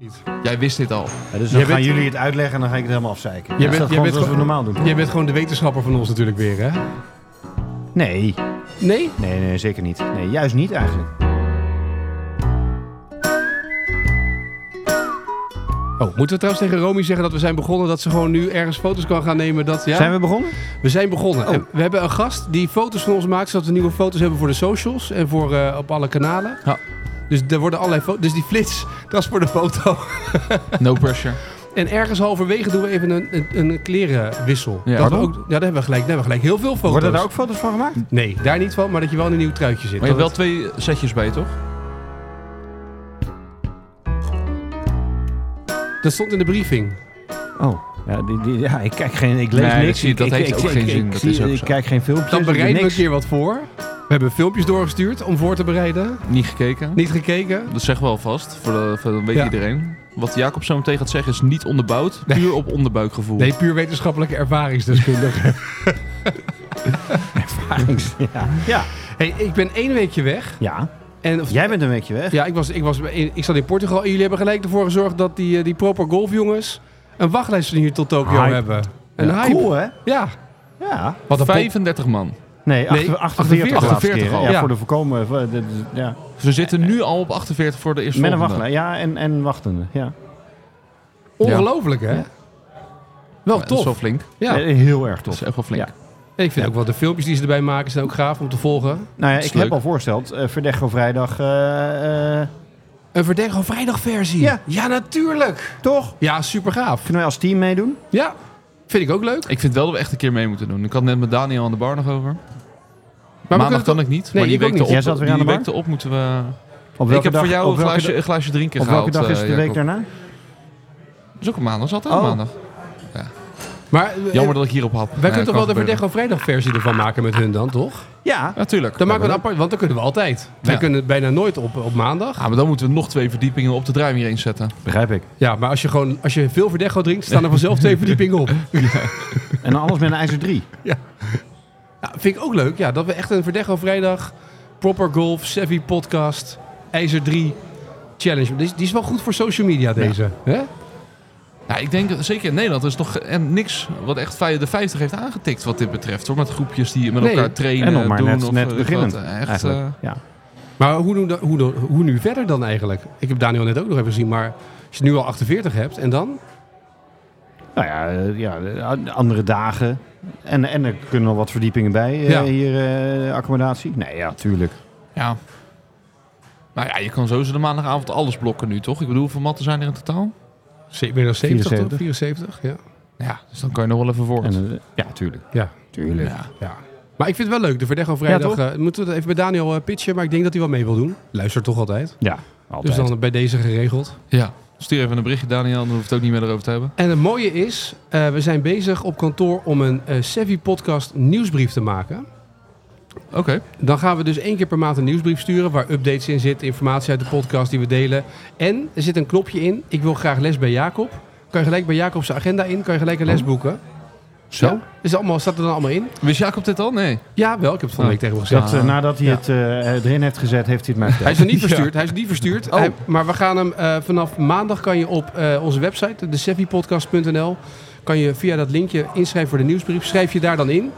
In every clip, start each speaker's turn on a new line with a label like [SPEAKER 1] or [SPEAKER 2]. [SPEAKER 1] niet.
[SPEAKER 2] Jij wist dit al.
[SPEAKER 3] Ja, dus
[SPEAKER 1] Jij
[SPEAKER 3] dan gaan
[SPEAKER 1] bent-
[SPEAKER 3] jullie het uitleggen en dan ga ik het helemaal afzeiken.
[SPEAKER 1] Jij
[SPEAKER 3] is
[SPEAKER 1] bent-
[SPEAKER 3] dat
[SPEAKER 1] jij
[SPEAKER 3] gewoon
[SPEAKER 1] bent
[SPEAKER 3] zoals we
[SPEAKER 1] gewoon-
[SPEAKER 3] normaal doen?
[SPEAKER 1] Jij bent gewoon de wetenschapper van ons natuurlijk weer, hè?
[SPEAKER 3] Nee.
[SPEAKER 1] Nee?
[SPEAKER 3] nee, nee, zeker niet. Nee, juist niet eigenlijk.
[SPEAKER 2] Oh, moeten we trouwens tegen Romy zeggen dat we zijn begonnen, dat ze gewoon nu ergens foto's kan gaan nemen? Dat, ja?
[SPEAKER 3] Zijn we begonnen?
[SPEAKER 2] We zijn begonnen.
[SPEAKER 3] Oh.
[SPEAKER 2] En We hebben een gast die foto's van ons maakt, zodat we nieuwe foto's hebben voor de socials en voor, eh, op alle kanalen.
[SPEAKER 4] Ja.
[SPEAKER 2] Dus er worden allerlei foto's. Dus die flits, dat is voor de foto.
[SPEAKER 4] No pressure.
[SPEAKER 2] En ergens halverwege doen we even een, een, een klerenwissel.
[SPEAKER 4] Ja.
[SPEAKER 2] dat we
[SPEAKER 4] Pardon?
[SPEAKER 2] ook, ja, daar hebben we gelijk. Daar hebben we gelijk heel veel foto's.
[SPEAKER 3] Worden daar ook foto's van gemaakt?
[SPEAKER 2] Nee, daar niet van, maar dat je wel in een nieuw truitje zit.
[SPEAKER 4] Maar je hebt
[SPEAKER 2] Dat
[SPEAKER 4] wel twee setjes bij, toch?
[SPEAKER 2] het- Dat stond in de briefing.
[SPEAKER 3] Oh. Ja, die, die- ja, ik kijk geen... Ik lees
[SPEAKER 4] Nee, dat
[SPEAKER 3] niks.
[SPEAKER 4] zie je, dat
[SPEAKER 3] ik,
[SPEAKER 4] heeft
[SPEAKER 3] ik,
[SPEAKER 4] ook
[SPEAKER 3] ik-
[SPEAKER 4] geen
[SPEAKER 3] ik-
[SPEAKER 4] zin,
[SPEAKER 3] Ik,
[SPEAKER 4] dat
[SPEAKER 3] zie-
[SPEAKER 4] is ook
[SPEAKER 3] ik
[SPEAKER 4] zo.
[SPEAKER 3] kijk geen filmpjes.
[SPEAKER 2] Dan
[SPEAKER 3] dus ik doe
[SPEAKER 2] bereiden we een
[SPEAKER 3] niks.
[SPEAKER 2] keer wat voor. We hebben filmpjes doorgestuurd om voor te bereiden.
[SPEAKER 4] Niet gekeken.
[SPEAKER 2] Niet gekeken.
[SPEAKER 4] Dat zeggen we alvast, voor de, voor dan weet
[SPEAKER 2] Ja.
[SPEAKER 4] iedereen. Wat Jacob zo meteen gaat zeggen is niet onderbouwd,
[SPEAKER 2] Nee.
[SPEAKER 4] puur op onderbuikgevoel.
[SPEAKER 2] Nee, puur wetenschappelijke ervaringsdeskundige.
[SPEAKER 3] Ja. ja.
[SPEAKER 2] hey, ik ben één weekje weg.
[SPEAKER 3] Ja.
[SPEAKER 2] En, of-
[SPEAKER 3] Jij bent een weekje weg.
[SPEAKER 2] Ja, ik, was, ik, was, in- ik zat in Portugal en jullie hebben gelijk ervoor gezorgd dat die, eh, die proper golfjongens een wachtlijst van hier tot Tokio
[SPEAKER 3] Hype.
[SPEAKER 2] hebben. Een hype.
[SPEAKER 3] Cool, hè?
[SPEAKER 2] Ja.
[SPEAKER 3] Ja.
[SPEAKER 2] Wat een pop-
[SPEAKER 4] 35 man.
[SPEAKER 3] Nee,
[SPEAKER 2] Nee,
[SPEAKER 3] 48, 48,
[SPEAKER 4] 48
[SPEAKER 3] keer, hè?
[SPEAKER 4] al.
[SPEAKER 3] Ja,
[SPEAKER 2] Ja.
[SPEAKER 3] voor de voorkomen. voor de- de- ja.
[SPEAKER 4] Ze zitten nu al op 48 voor de eerste
[SPEAKER 3] Met een
[SPEAKER 4] volgende.
[SPEAKER 3] wachtlijst. Ja, en, en wachtende. Ja.
[SPEAKER 2] Ongelooflijk, hè?
[SPEAKER 3] Ja.
[SPEAKER 2] Wel
[SPEAKER 4] Ja, Dat is wel
[SPEAKER 2] tof.
[SPEAKER 4] flink.
[SPEAKER 2] Ja.
[SPEAKER 3] Eh, Heel erg
[SPEAKER 4] Oh, Dat
[SPEAKER 3] tof.
[SPEAKER 4] is echt wel flink.
[SPEAKER 3] Ja.
[SPEAKER 2] Ik vind ook wel de filmpjes die ze erbij maken zijn ook gaaf om te volgen.
[SPEAKER 3] Nou ja,
[SPEAKER 4] Dat
[SPEAKER 3] ik
[SPEAKER 4] is
[SPEAKER 3] heb
[SPEAKER 4] leuk.
[SPEAKER 3] al voorgesteld. eh Verdecho vrijdag. eh, eh,
[SPEAKER 2] Een Verdego vrijdagversie.
[SPEAKER 3] Ja.
[SPEAKER 2] natuurlijk.
[SPEAKER 3] toch?
[SPEAKER 2] Ja, super gaaf.
[SPEAKER 3] Kunnen wij als team meedoen?
[SPEAKER 2] Ja, vind ik ook leuk.
[SPEAKER 4] Ik vind wel dat we echt een keer mee moeten doen. Ik had net met Daniel aan de bar nog over.
[SPEAKER 2] Maar
[SPEAKER 4] Maandag
[SPEAKER 2] we kunnen
[SPEAKER 4] kan ik niet,
[SPEAKER 2] Nee,
[SPEAKER 4] maar die
[SPEAKER 2] ik ook
[SPEAKER 4] week
[SPEAKER 2] niet.
[SPEAKER 4] erop,
[SPEAKER 3] Jij zat weer aan
[SPEAKER 4] die
[SPEAKER 3] de
[SPEAKER 4] week
[SPEAKER 3] bar?
[SPEAKER 4] erop moeten we...
[SPEAKER 3] Op
[SPEAKER 4] ik heb voor jou
[SPEAKER 3] op
[SPEAKER 4] een
[SPEAKER 3] welke
[SPEAKER 4] glaasje,
[SPEAKER 3] da-
[SPEAKER 4] een glaasje drinken
[SPEAKER 3] op
[SPEAKER 4] gehaald.
[SPEAKER 3] welke dag is
[SPEAKER 4] eh,
[SPEAKER 3] het de week
[SPEAKER 4] Jacob.
[SPEAKER 3] daarna?
[SPEAKER 4] Dat is ook een maandag, dat is altijd
[SPEAKER 3] Oh.
[SPEAKER 4] een maandag.
[SPEAKER 2] toch- Maar eh,
[SPEAKER 4] Jammer dat ik hierop hap.
[SPEAKER 2] wij kunnen toch wel de Verdego vrijdagversie ervan maken met hun dan, toch?
[SPEAKER 3] Ja.
[SPEAKER 4] Natuurlijk.
[SPEAKER 2] Dan maken we een apart, want dan kunnen we altijd. Wij
[SPEAKER 4] Ja.
[SPEAKER 2] kunnen bijna nooit op, op maandag.
[SPEAKER 4] Ja, maar dan moeten we nog twee verdiepingen op de druim hierheen zetten.
[SPEAKER 3] Begrijp ik.
[SPEAKER 2] Ja, maar als je, gewoon, als je veel Verdecho drinkt, staan er vanzelf twee verdiepingen op.
[SPEAKER 3] En dan alles met een ijzer 3.
[SPEAKER 2] Ja, vind ik ook leuk, ja, dat we echt een Verdecho vrijdag, proper golf, savvy podcast, ijzer 3 challenge. Die, is- die is wel goed voor social media deze. Hè?
[SPEAKER 4] Ja, ik denk dat zeker in Nederland is nog en niks wat echt vij- de 50 heeft aangetikt wat dit betreft. Hoor. Met groepjes die met
[SPEAKER 2] Nee,
[SPEAKER 4] elkaar trainen
[SPEAKER 3] en nog maar
[SPEAKER 4] doen.
[SPEAKER 3] net-
[SPEAKER 4] of,
[SPEAKER 3] net
[SPEAKER 4] eh,
[SPEAKER 3] beginnend,
[SPEAKER 4] wat, eh, Echt,
[SPEAKER 3] Eigenlijk.
[SPEAKER 4] eh,
[SPEAKER 3] ja.
[SPEAKER 2] Maar hoe, doen dat- hoe, doen- hoe nu verder dan eigenlijk? Ik heb Daniel net ook nog even gezien, maar als je nu al 48 hebt en dan?
[SPEAKER 3] Nou ja, eh, ja, eh, andere dagen. En, en er kunnen nog wat verdiepingen bij eh,
[SPEAKER 2] Ja.
[SPEAKER 3] hier, eh, accommodatie. Nee, ja, tuurlijk.
[SPEAKER 4] ja. Maar ja, je kan sowieso de maandagavond alles blokken nu, toch? Ik bedoel, hoeveel matten zijn er in totaal?
[SPEAKER 2] ze- Meer dan 70,
[SPEAKER 3] 74.
[SPEAKER 2] toch? 74, ja.
[SPEAKER 4] Ja, dus dan kan je nog wel even voort.
[SPEAKER 3] En, eh, ja, tuurlijk.
[SPEAKER 2] Ja.
[SPEAKER 3] Tuurlijk.
[SPEAKER 4] ja.
[SPEAKER 2] ja. Maar ik vind het wel leuk, de Verdecho vrijdag.
[SPEAKER 3] toch?
[SPEAKER 2] eh, moeten we dat even bij Daniel eh, pitchen, maar ik denk dat hij wel mee wil doen. Luister toch altijd.
[SPEAKER 3] Ja, altijd.
[SPEAKER 2] Dus dan bij deze geregeld.
[SPEAKER 4] ja, stuur even een berichtje, Daniel. Dan hoeft het ook niet meer erover te hebben.
[SPEAKER 2] En het mooie is, eh, we zijn bezig op kantoor om een eh Savvy Podcast nieuwsbrief te maken.
[SPEAKER 4] Oké,
[SPEAKER 2] Dan gaan we dus één keer per maand een nieuwsbrief sturen waar updates in zitten, informatie uit de podcast die we delen. En er zit een knopje in, ik wil graag les bij Jacob. Kan je gelijk bij Jacob zijn agenda in, kan je gelijk een les boeken.
[SPEAKER 3] Zo?
[SPEAKER 2] Ja, is allemaal, staat er dan allemaal in?
[SPEAKER 4] wist Jacob dit al? Nee.
[SPEAKER 2] Ja, wel, ik heb het van de week tegen hem gezegd.
[SPEAKER 3] Dat, eh, nadat hij het eh, erin heeft gezet, heeft hij het mij
[SPEAKER 2] Hij
[SPEAKER 3] verteld.
[SPEAKER 2] is er niet verstuurd, hij is er niet verstuurd.
[SPEAKER 4] Oh.
[SPEAKER 2] Hij- maar we gaan hem eh, vanaf maandag kan je op eh, onze website, theseffypodcast.nl, kan je via dat linkje inschrijven voor de nieuwsbrief. Schrijf je daar dan in.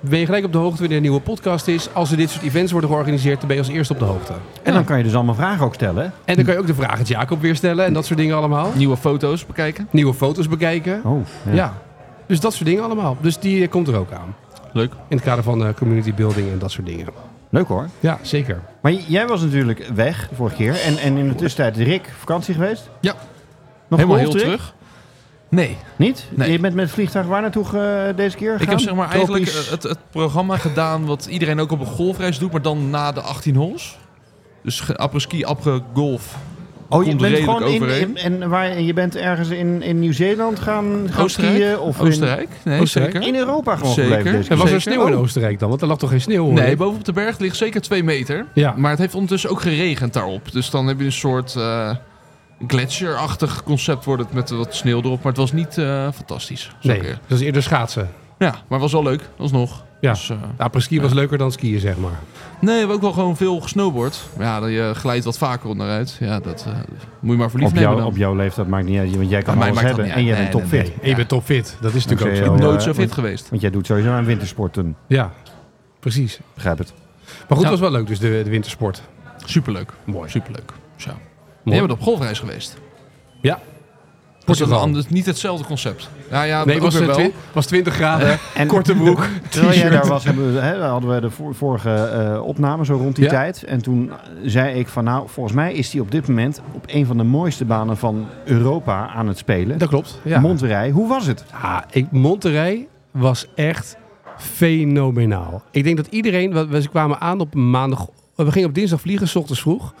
[SPEAKER 2] Ben je gelijk op de hoogte wanneer er een nieuwe podcast is. Als er dit soort events worden georganiseerd, dan ben je als eerste op de hoogte.
[SPEAKER 3] En dan kan je dus allemaal vragen ook stellen. hè?
[SPEAKER 2] En dan kan je ook de vragen aan Jacob weer stellen en dat soort dingen allemaal.
[SPEAKER 4] Nieuwe foto's bekijken.
[SPEAKER 2] Nieuwe foto's bekijken.
[SPEAKER 3] Oh,
[SPEAKER 2] Ja. Dus dat soort dingen allemaal. Dus die eh, komt er ook aan.
[SPEAKER 4] Leuk.
[SPEAKER 2] In het kader van eh, community building en dat soort dingen.
[SPEAKER 3] Leuk hoor.
[SPEAKER 2] Ja, zeker.
[SPEAKER 3] Maar j- jij was natuurlijk weg vorige keer. En, en in de tussentijd, Rick, vakantie geweest?
[SPEAKER 4] Ja.
[SPEAKER 3] Nog
[SPEAKER 4] Helemaal heel
[SPEAKER 3] geholpen, Rick?
[SPEAKER 4] terug. Nee,
[SPEAKER 3] Niet?
[SPEAKER 4] Nee.
[SPEAKER 3] Je bent met het vliegtuig waar naartoe ge- deze keer
[SPEAKER 4] Ik
[SPEAKER 3] gegaan?
[SPEAKER 4] heb zeg maar
[SPEAKER 3] Tropisch.
[SPEAKER 4] eigenlijk eh, het, het programma gedaan wat iedereen ook op een golfreis doet, maar dan na de 18 holes. Dus ge- apres-ski, apres-golf.
[SPEAKER 3] Oh, je
[SPEAKER 4] komt
[SPEAKER 3] bent
[SPEAKER 4] redelijk
[SPEAKER 3] gewoon in, in,
[SPEAKER 4] overeen.
[SPEAKER 3] en waar, en je bent ergens in, in Nieuw-Zeeland gaan, gaan
[SPEAKER 4] Oostenrijk?
[SPEAKER 3] skiën? Of in-
[SPEAKER 4] Oostenrijk? Nee,
[SPEAKER 2] Oostenrijk?
[SPEAKER 4] zeker.
[SPEAKER 3] In, Europa gewoon
[SPEAKER 4] Zeker.
[SPEAKER 3] gebleven deze
[SPEAKER 2] En
[SPEAKER 3] keer?
[SPEAKER 2] was er
[SPEAKER 4] Zeker.
[SPEAKER 2] sneeuw in
[SPEAKER 4] Oh.
[SPEAKER 2] Oostenrijk dan? Want er lag toch geen sneeuw? hoor?
[SPEAKER 4] Nee, boven op de berg ligt zeker 2 meter.
[SPEAKER 2] Ja.
[SPEAKER 4] Maar het heeft ondertussen ook geregend daarop. Dus dan heb je een soort eh gletsjerachtig concept wordt het met wat sneeuw erop. Maar het was niet eh, fantastisch. zou ik
[SPEAKER 2] Nee,
[SPEAKER 4] zeggen.
[SPEAKER 2] dat is eerder schaatsen.
[SPEAKER 4] Ja, maar was wel leuk, alsnog.
[SPEAKER 2] Ja.
[SPEAKER 4] Dus, eh,
[SPEAKER 2] Ja, preski was leuker dan skiën, zeg maar.
[SPEAKER 4] nee, we hebben ook wel gewoon veel gesnowboard. Ja, dan je glijdt wat vaker onderuit. Ja, dat eh, moet je maar voor lief
[SPEAKER 3] Op,
[SPEAKER 4] nemen
[SPEAKER 3] jou,
[SPEAKER 4] dan.
[SPEAKER 3] op jouw leeftijd maakt niet uit, want jij kan
[SPEAKER 4] Ja, mij
[SPEAKER 3] alles
[SPEAKER 4] maakt dat
[SPEAKER 3] hebben en
[SPEAKER 4] niet
[SPEAKER 3] jij
[SPEAKER 4] uit.
[SPEAKER 3] bent
[SPEAKER 4] Nee, nee,
[SPEAKER 3] topfit.
[SPEAKER 4] nee.
[SPEAKER 2] En je bent topfit. Dat is natuurlijk
[SPEAKER 3] Oké,
[SPEAKER 2] ook zo.
[SPEAKER 3] joh.
[SPEAKER 4] Nooit
[SPEAKER 3] eh,
[SPEAKER 4] zo fit
[SPEAKER 3] want-
[SPEAKER 4] geweest.
[SPEAKER 3] Want jij doet sowieso aan wintersporten,
[SPEAKER 2] Ja, precies.
[SPEAKER 3] begrijp het.
[SPEAKER 2] Maar goed,
[SPEAKER 4] Ja.
[SPEAKER 2] was wel leuk dus, de, de wintersport.
[SPEAKER 4] Superleuk.
[SPEAKER 2] Mooi.
[SPEAKER 4] Superleuk. Zo. We hebben op golfreis geweest.
[SPEAKER 2] Ja.
[SPEAKER 4] Dat is een
[SPEAKER 2] Portugal.
[SPEAKER 4] ander- niet hetzelfde concept. Ja, ja,
[SPEAKER 2] Nee,
[SPEAKER 4] ook
[SPEAKER 2] was,
[SPEAKER 4] weer
[SPEAKER 2] eh,
[SPEAKER 4] wel.
[SPEAKER 2] twi- was 20 graden,
[SPEAKER 3] En-
[SPEAKER 2] korte broek,
[SPEAKER 3] Terwijl jij
[SPEAKER 2] t-shirt.
[SPEAKER 3] daar was, hebben we, hè, hadden we de voor- vorige eh, opname zo rond die
[SPEAKER 2] Ja.
[SPEAKER 3] tijd. En toen zei ik van nou, volgens mij is die op dit moment op een van de mooiste banen van Europa aan het spelen.
[SPEAKER 2] Dat klopt. Ja.
[SPEAKER 3] Monterrey, hoe was het?
[SPEAKER 2] Ah, ik, Monterrey was echt fenomenaal. Ik denk dat iedereen, we, we kwamen aan op maandag, we gingen op dinsdag vliegen, s ochtends vroeg.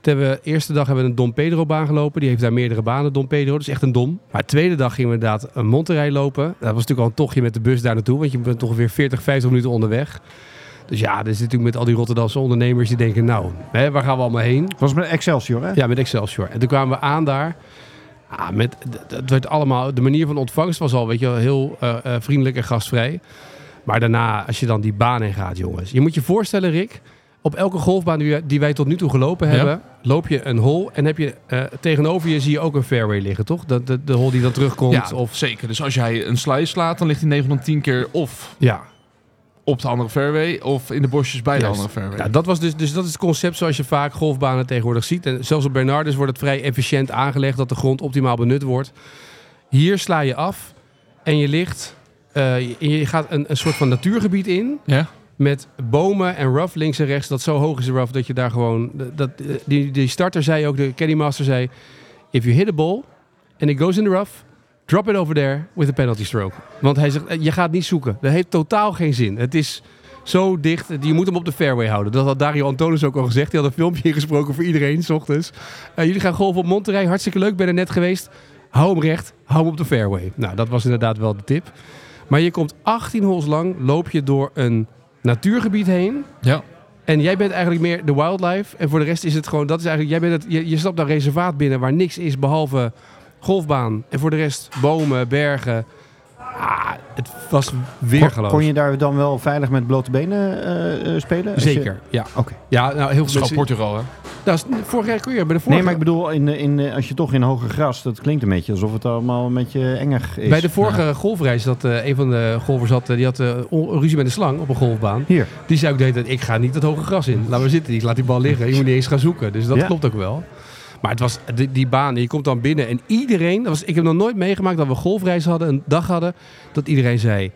[SPEAKER 2] Toen hebben we, eerste dag hebben we een Dom Pedro baan gelopen. Die heeft daar meerdere banen, Dom Pedro. Dat is echt een dom. Maar tweede dag gingen we inderdaad een Monterrey lopen. Dat was natuurlijk al een tochtje met de bus daar naartoe. Want je bent toch weer 40, 50 minuten onderweg. Dus ja, dit is natuurlijk met al die Rotterdamse ondernemers die denken... Nou, hè, waar gaan we allemaal heen?
[SPEAKER 3] Het was met Excelsior hè?
[SPEAKER 2] Ja, met Excelsior. En toen kwamen we aan daar. Ah, met, d- d- het werd allemaal, de manier van ontvangst was al weet je, wel, heel eh, eh, vriendelijk en gastvrij. Maar daarna, als je dan die baan in gaat, jongens. Je moet je voorstellen, Rick. Op elke golfbaan die, we- die wij tot nu toe gelopen
[SPEAKER 4] Ja.
[SPEAKER 2] hebben, loop je een hole. En heb je, eh, tegenover je zie je ook een fairway liggen, toch? Dat de, de hole die dan terugkomt.
[SPEAKER 4] Ja,
[SPEAKER 2] of,
[SPEAKER 4] of zeker. Dus als jij een slice slaat, dan ligt hij 9 van 10 keer of
[SPEAKER 2] ja.
[SPEAKER 4] op de andere fairway of in de bosjes bij de
[SPEAKER 2] Juist.
[SPEAKER 4] andere fairway.
[SPEAKER 2] Ja, dat was dus, dus dat is het concept zoals je vaak golfbanen tegenwoordig ziet. En zelfs op Bernardus wordt het vrij efficiënt aangelegd dat de grond optimaal benut wordt. Hier sla je af en je ligt. eh, je- je gaat een, een soort van natuurgebied in.
[SPEAKER 4] Ja?
[SPEAKER 2] Met bomen en rough links en rechts. Dat zo hoog is de rough dat je daar gewoon. Dat, die, die starter zei ook, de caddymaster zei. If you hit a ball and it goes in the rough, drop it over there with a penalty stroke. Want hij zegt, eh, je gaat niet zoeken. Dat heeft totaal geen zin. Het is zo dicht. Je moet hem op de fairway houden. Dat had Dario Antonis ook al gezegd. Die had een filmpje ingesproken voor iedereen, s ochtends. Eh, jullie gaan golven op Monterrey. Hartstikke leuk, ben er net geweest. Hou hem recht, hou hem op de fairway. Nou, dat was inderdaad wel de tip. Maar je komt 18 holes lang, loop je door een natuurgebied heen.
[SPEAKER 4] Ja.
[SPEAKER 2] En jij bent eigenlijk meer de wildlife. En voor de rest is het gewoon, dat is eigenlijk, jij bent het, je, je stapt daar reservaat binnen waar niks is behalve golfbaan. En voor de rest bomen, bergen. Ah, het was weer
[SPEAKER 3] Kon,
[SPEAKER 2] geloof
[SPEAKER 3] kon je daar dan wel veilig met blote benen eh, eh, spelen? Als je-
[SPEAKER 2] Zeker, ja.
[SPEAKER 3] Oké. Dus-
[SPEAKER 2] Ja, nou heel
[SPEAKER 4] Dat
[SPEAKER 2] veel
[SPEAKER 4] is gewoon
[SPEAKER 2] mensen...
[SPEAKER 4] Portugal, hè?
[SPEAKER 2] Nou, is- vorig jaar kun je bij de vorige...
[SPEAKER 3] Nee, maar ik bedoel, in, eh, in, eh, als je toch in hoger gras, dat klinkt een beetje alsof het allemaal een beetje engig is.
[SPEAKER 2] Bij de vorige golfreis, dat eh, een van de golfers had, eh, die had eh, on- ruzie met een slang op een golfbaan.
[SPEAKER 3] Hier.
[SPEAKER 2] Die zei ook de hele tijd, ik ga niet dat hoge gras in. Laat maar zitten, ik laat die bal liggen. Je moet niet eens gaan zoeken. Dus dat
[SPEAKER 3] Ja.
[SPEAKER 2] klopt ook wel. Maar het was die, die baan, je komt dan binnen en iedereen... Dat was, ik heb nog nooit meegemaakt dat we een golfreis hadden, een dag hadden... dat iedereen zei,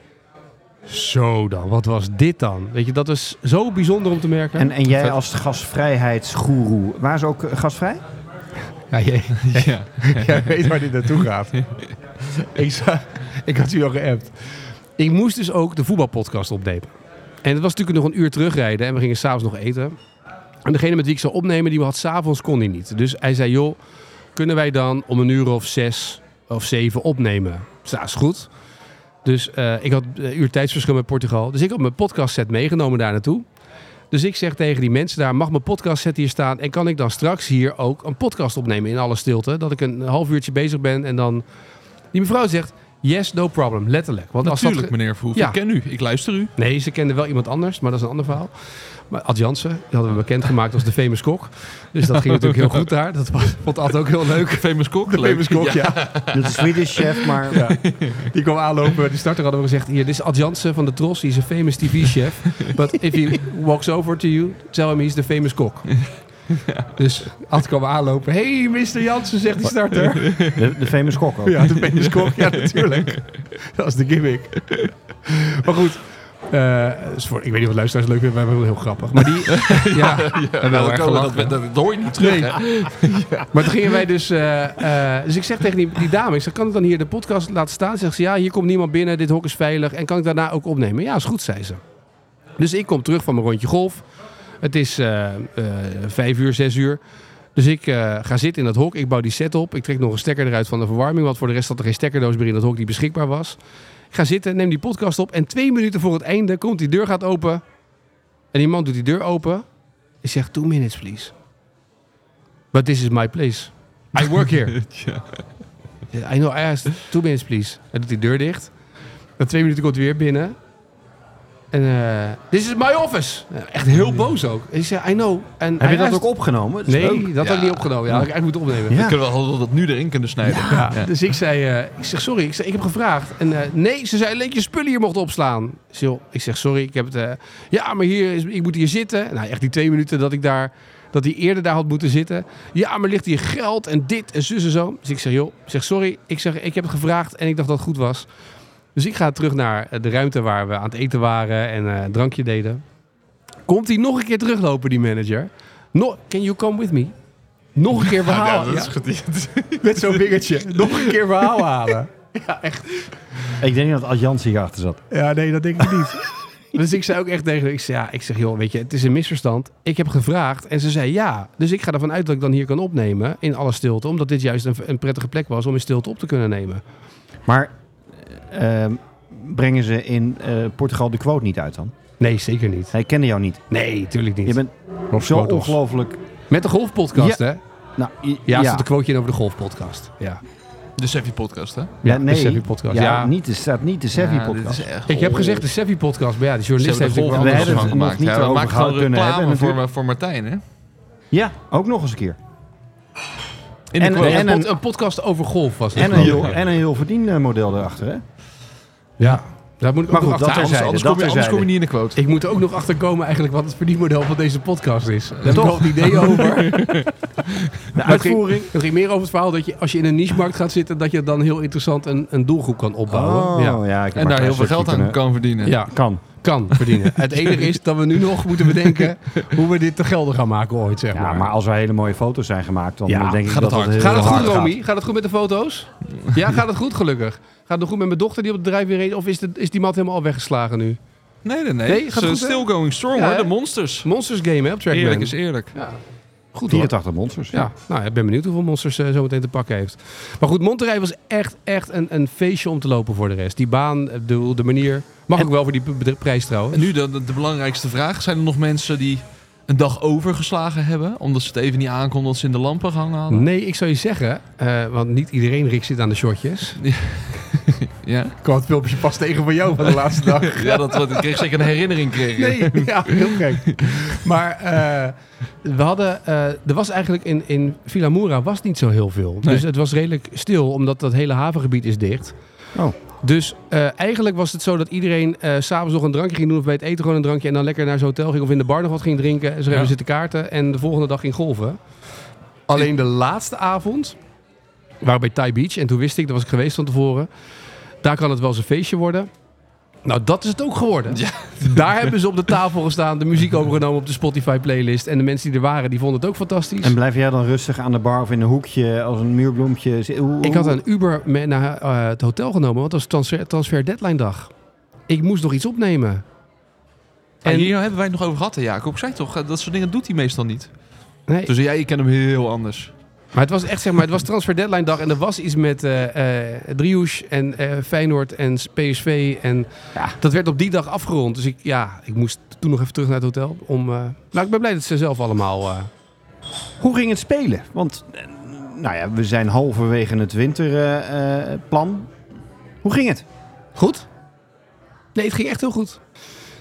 [SPEAKER 2] zo dan, wat was dit dan? Weet je, dat is zo bijzonder om te merken.
[SPEAKER 3] En, en jij als gasvrijheidsgoeroe, waren ze ook eh, gasvrij?
[SPEAKER 2] Ja, jij,
[SPEAKER 4] Ja.
[SPEAKER 2] Jij weet waar dit naartoe gaat. ik, za- ik had u al geappt. Ik moest dus ook de voetbalpodcast opnemen. En het was natuurlijk nog een uur terugrijden en we gingen s'avonds nog eten. En degene met wie ik zou opnemen, die we had s'avonds, kon die niet. Dus hij zei, joh, kunnen wij dan om een uur of zes of zeven opnemen? Ik zei, "Ja, is goed. Dus eh, ik had een uur tijdsverschil met Portugal. Dus ik had mijn podcastset meegenomen daar naartoe. Dus ik zeg tegen die mensen daar, mag mijn podcastset hier staan? En kan ik dan straks hier ook een podcast opnemen in alle stilte? Dat ik een half uurtje bezig ben en dan... Die mevrouw zegt, yes, no problem, letterlijk. Want als dat
[SPEAKER 4] Natuurlijk,
[SPEAKER 2] ge-
[SPEAKER 4] meneer Verhoeven.
[SPEAKER 2] Ja.
[SPEAKER 4] Ik ken u. Ik luister u.
[SPEAKER 2] Nee, ze kenden wel iemand anders, maar dat is een ander verhaal. Maar Ad Jansen, die hadden we bekendgemaakt als de famous kok. Dus dat ging natuurlijk heel goed daar. Dat was- vond Ad ook heel leuk.
[SPEAKER 4] Famous Kok.
[SPEAKER 2] De
[SPEAKER 4] leuk.
[SPEAKER 2] famous kok, ja.
[SPEAKER 3] Dat is Swedish chef, maar...
[SPEAKER 2] Die kwam aanlopen. Die starter hadden we gezegd, hier, dit is Ad Jansen van de Tros. Hij is een famous TV-chef. But if he walks over to you, tell him he's the famous kok. Dus Ad kwam aanlopen. Hey, Mr. Jansen, zegt die starter.
[SPEAKER 3] De, de famous kok ook.
[SPEAKER 2] Ja, de penis kok, ja, natuurlijk. Dat is de gimmick. Maar goed. eh, is voor, ik weet niet wat luisteraars leuk vinden, maar wij hebben het heel grappig. Maar die, ja, we hebben wel erg
[SPEAKER 4] dat,
[SPEAKER 2] gelachen.
[SPEAKER 4] dat, dat hoor je niet terug,
[SPEAKER 2] Nee.
[SPEAKER 4] hè?
[SPEAKER 2] Maar toen gingen wij dus... eh, eh, dus ik zeg tegen die, die dame, ik zeg, kan ik dan hier de podcast laten staan? Zegt ze, ja, hier komt niemand binnen, dit hok is veilig. En kan ik daarna ook opnemen? Ja, is goed, zei ze. Dus ik kom terug van mijn rondje golf. Het is eh, eh, vijf uur, zes uur. Dus ik eh, ga zitten in dat hok. Ik bouw die set op. Ik trek nog een stekker eruit van de verwarming. Want voor de rest had er geen stekkerdoos meer in dat hok die beschikbaar was. Ik ga zitten, neem die podcast op. En twee minuten voor het einde komt die deur gaat open. En die man doet die deur open. Ik zeg, two minutes please. But this is my place. I work here. I know, I asked, two minutes please. Hij doet die deur dicht. Na twee minuten komt hij weer binnen. En eh this is my office. Echt heel boos ook. Ik zei, I know. En
[SPEAKER 3] Heb
[SPEAKER 2] hij
[SPEAKER 3] je dat
[SPEAKER 2] luistert-
[SPEAKER 3] ook opgenomen? Dat is
[SPEAKER 2] Nee,
[SPEAKER 3] leuk.
[SPEAKER 2] dat had ik
[SPEAKER 4] Ja.
[SPEAKER 2] niet opgenomen. Ja, dat had ik eigenlijk moeten opnemen.
[SPEAKER 3] Ja.
[SPEAKER 4] We kunnen wel dat nu erin kunnen snijden.
[SPEAKER 2] Ja, Dus ik zei, eh, ik zeg sorry, ik, zeg, ik heb gevraagd. En eh, nee, ze zei alleen dat je spullen hier mocht opslaan. Ik zeg, joh, ik zeg sorry, ik heb het. eh, ja, maar hier is, ik moet hier zitten. Nou, echt die twee minuten dat ik daar, dat hij eerder daar had moeten zitten. Ja, maar ligt hier geld en dit en zus en zo. Dus ik zeg, joh, ik zeg sorry, ik zeg, ik heb het gevraagd en ik dacht dat het goed was. Dus ik ga terug naar eh, de ruimte waar we aan het eten waren en eh, drankje deden. Komt hij nog een keer teruglopen, die manager? No, can you come with me? Nog een keer verhaal.
[SPEAKER 4] dat
[SPEAKER 2] Ja.
[SPEAKER 4] is gediend.
[SPEAKER 2] Met zo'n vingertje. Nog een keer verhaal halen. Ja, echt.
[SPEAKER 3] Ik denk dat Adjans hierachter zat.
[SPEAKER 2] Ja, nee, dat denk ik niet. dus ik zei ook echt tegen haar, ik, zei, ja, ik zeg, joh, weet je, het is een misverstand. Ik heb gevraagd en ze zei ja. Dus ik ga ervan uit dat ik dan hier kan opnemen in alle stilte. Omdat dit juist een, een prettige plek was om in stilte op te kunnen nemen.
[SPEAKER 3] Maar ehm, brengen ze in eh, Portugal de quote niet uit dan?
[SPEAKER 2] Nee, zeker niet.
[SPEAKER 3] Hij kende jou niet.
[SPEAKER 2] Nee, tuurlijk niet.
[SPEAKER 3] Je bent
[SPEAKER 2] Rob
[SPEAKER 3] zo
[SPEAKER 2] Schotos.
[SPEAKER 3] ongelooflijk...
[SPEAKER 2] Met de golfpodcast, hè?
[SPEAKER 3] Nou, i-
[SPEAKER 2] Ja, er zat een quoteje in over de golfpodcast. Ja.
[SPEAKER 4] De Seffi podcast, hè?
[SPEAKER 3] Ja,
[SPEAKER 2] de
[SPEAKER 3] nee.
[SPEAKER 2] Savvy podcast.
[SPEAKER 3] Ja,
[SPEAKER 2] Ja.
[SPEAKER 3] Niet, het staat niet de Savvy
[SPEAKER 4] Ja, dit
[SPEAKER 3] podcast.
[SPEAKER 4] is echt-
[SPEAKER 2] Ik heb
[SPEAKER 4] oh.
[SPEAKER 2] gezegd de Sevi podcast, maar ja, de
[SPEAKER 4] Ze
[SPEAKER 2] journalist
[SPEAKER 4] hebben
[SPEAKER 2] heeft
[SPEAKER 4] er
[SPEAKER 2] natuurlijk
[SPEAKER 4] golf
[SPEAKER 3] wel hebben
[SPEAKER 4] anders van
[SPEAKER 3] het nog
[SPEAKER 4] gemaakt.
[SPEAKER 3] niet
[SPEAKER 4] Ja, we
[SPEAKER 3] over
[SPEAKER 4] maken gewoon
[SPEAKER 3] gehad kunnen
[SPEAKER 4] reclame
[SPEAKER 3] hebben,
[SPEAKER 4] voor, voor Martijn, hè?
[SPEAKER 3] Ja, ook nog eens een keer.
[SPEAKER 4] In
[SPEAKER 3] En-
[SPEAKER 4] de quote.
[SPEAKER 2] een,
[SPEAKER 3] en
[SPEAKER 2] pod- een podcast over golf was het.
[SPEAKER 3] En een,
[SPEAKER 2] geloof
[SPEAKER 3] heel,
[SPEAKER 2] ik.
[SPEAKER 3] en een heel verdienmodel erachter, hè?
[SPEAKER 2] Ja, daar moet ik
[SPEAKER 3] Maar
[SPEAKER 2] ook nog
[SPEAKER 3] goed, dat
[SPEAKER 2] achteraan.
[SPEAKER 3] terzijde,
[SPEAKER 4] anders,
[SPEAKER 3] dat
[SPEAKER 4] kom je, anders
[SPEAKER 3] terzijde.
[SPEAKER 4] kom je niet in de quote.
[SPEAKER 2] Ik moet er ook nog achterkomen eigenlijk wat het verdienmodel van deze podcast is. Daar heb ik nog een idee over. Maar
[SPEAKER 3] De
[SPEAKER 2] het ging-
[SPEAKER 3] uitvoering.
[SPEAKER 2] Het ging meer over het verhaal dat je als je in een niche-markt gaat zitten... dat je dan heel interessant een, een doelgroep kan opbouwen.
[SPEAKER 3] Oh, ja.
[SPEAKER 2] Ja.
[SPEAKER 3] ik heb
[SPEAKER 4] En
[SPEAKER 3] maar
[SPEAKER 4] daar
[SPEAKER 3] een
[SPEAKER 4] heel veel
[SPEAKER 3] stukje
[SPEAKER 4] geld aan
[SPEAKER 3] kunnen-
[SPEAKER 4] kan verdienen.
[SPEAKER 2] ja,
[SPEAKER 3] Kan.
[SPEAKER 2] kan verdienen. Het enige is dat we nu nog moeten bedenken hoe we dit te gelden gaan maken ooit, zeg
[SPEAKER 3] Ja,
[SPEAKER 2] maar.
[SPEAKER 3] maar als er hele mooie foto's zijn gemaakt, dan
[SPEAKER 2] Ja,
[SPEAKER 3] denk ik
[SPEAKER 4] gaat
[SPEAKER 3] dat
[SPEAKER 4] het hard.
[SPEAKER 3] heel
[SPEAKER 2] Gaat het goed,
[SPEAKER 3] hard
[SPEAKER 2] Romy? Gaat het goed met de foto's? Ja, gaat het goed, gelukkig. Gaat het nog goed met mijn dochter die op het bedrijf weer reed? Of is, de, is die mat helemaal al weggeslagen nu?
[SPEAKER 4] Nee, nee, nee.
[SPEAKER 2] Nee, gaat
[SPEAKER 4] Ze-
[SPEAKER 2] goed, hè?
[SPEAKER 4] still going strong,
[SPEAKER 2] Ja,
[SPEAKER 4] hoor.
[SPEAKER 2] hè?
[SPEAKER 4] De monsters.
[SPEAKER 2] Monsters game, hè, op Trackman.
[SPEAKER 4] Eerlijk is eerlijk.
[SPEAKER 2] Ja, goed hoor.
[SPEAKER 3] 84 monsters.
[SPEAKER 2] Ja, nou, ik ben benieuwd hoeveel monsters eh, zo meteen te pakken heeft. Maar goed, Monterrey was echt, echt een, een feestje om te lopen voor de rest. Die baan, eh, de, de manier. Mag ook wel voor die p- bedri- prijs
[SPEAKER 4] En
[SPEAKER 2] trouwens.
[SPEAKER 4] nu de, de, de belangrijkste vraag. Zijn er nog mensen die een dag overgeslagen hebben? Omdat ze het even niet aankonden dat ze in de lampen gehangen hadden?
[SPEAKER 2] Nee, ik zou je zeggen, eh, want niet iedereen richt zit aan de shotjes.
[SPEAKER 4] Ja,
[SPEAKER 2] Ik kwam het filmpje pas tegen van jou van de laatste dag.
[SPEAKER 4] ja dat, dat ik kreeg zeker een herinnering. Kreeg. ik.
[SPEAKER 2] Nee, ja, heel gek. Maar eh, we hadden, eh, er was eigenlijk in, in Villa Moura was niet zo heel veel.
[SPEAKER 4] Nee.
[SPEAKER 2] Dus het was redelijk stil, omdat dat hele havengebied is dicht.
[SPEAKER 3] Oh.
[SPEAKER 2] Dus eh, eigenlijk was het zo dat iedereen eh, s s'avonds nog een drankje ging doen of bij het eten gewoon een drankje en dan lekker naar zo'n hotel ging of in de bar nog wat ging drinken. En zo hebben
[SPEAKER 4] Ja.
[SPEAKER 2] we zitten kaarten en de volgende dag ging golven. Alleen de laatste avond waren we bij Thai Beach en toen wist ik, daar was ik geweest van tevoren, daar kan het wel eens een feestje worden. Nou, dat is het ook geworden.
[SPEAKER 4] Ja.
[SPEAKER 2] Daar hebben ze op de tafel gestaan, de muziek overgenomen op de Spotify playlist. En de mensen die er waren, die vonden het ook fantastisch.
[SPEAKER 3] En blijf jij dan rustig aan de bar of in een hoekje als een muurbloempje? zi- Hoe,
[SPEAKER 2] ik had
[SPEAKER 3] hoe-
[SPEAKER 2] een Uber mee naar eh, het hotel genomen, want dat was transfer, transfer deadline dag. Ik moest nog iets opnemen.
[SPEAKER 4] En
[SPEAKER 2] En,
[SPEAKER 4] Ah, hier hebben wij het nog over gehad, hè, Jacob. Ik zei toch, eh, dat soort dingen doet hij meestal niet.
[SPEAKER 2] nee,
[SPEAKER 4] Dus jij, je kent hem heel anders.
[SPEAKER 2] maar het was echt, zeg maar, het was transfer deadline dag. En er was iets met eh eh, Drioes en eh, Feyenoord en PSV. En
[SPEAKER 3] Ja.
[SPEAKER 2] dat werd op die dag afgerond. Dus ik, ja, ik moest toen nog even terug naar het hotel. Om, eh, Nou, ik ben blij dat ze zelf allemaal... eh,
[SPEAKER 3] Hoe ging het spelen? Want eh, nou ja, we zijn halverwege het winterplan. hoe ging het?
[SPEAKER 2] Goed? Nee, het ging echt heel goed.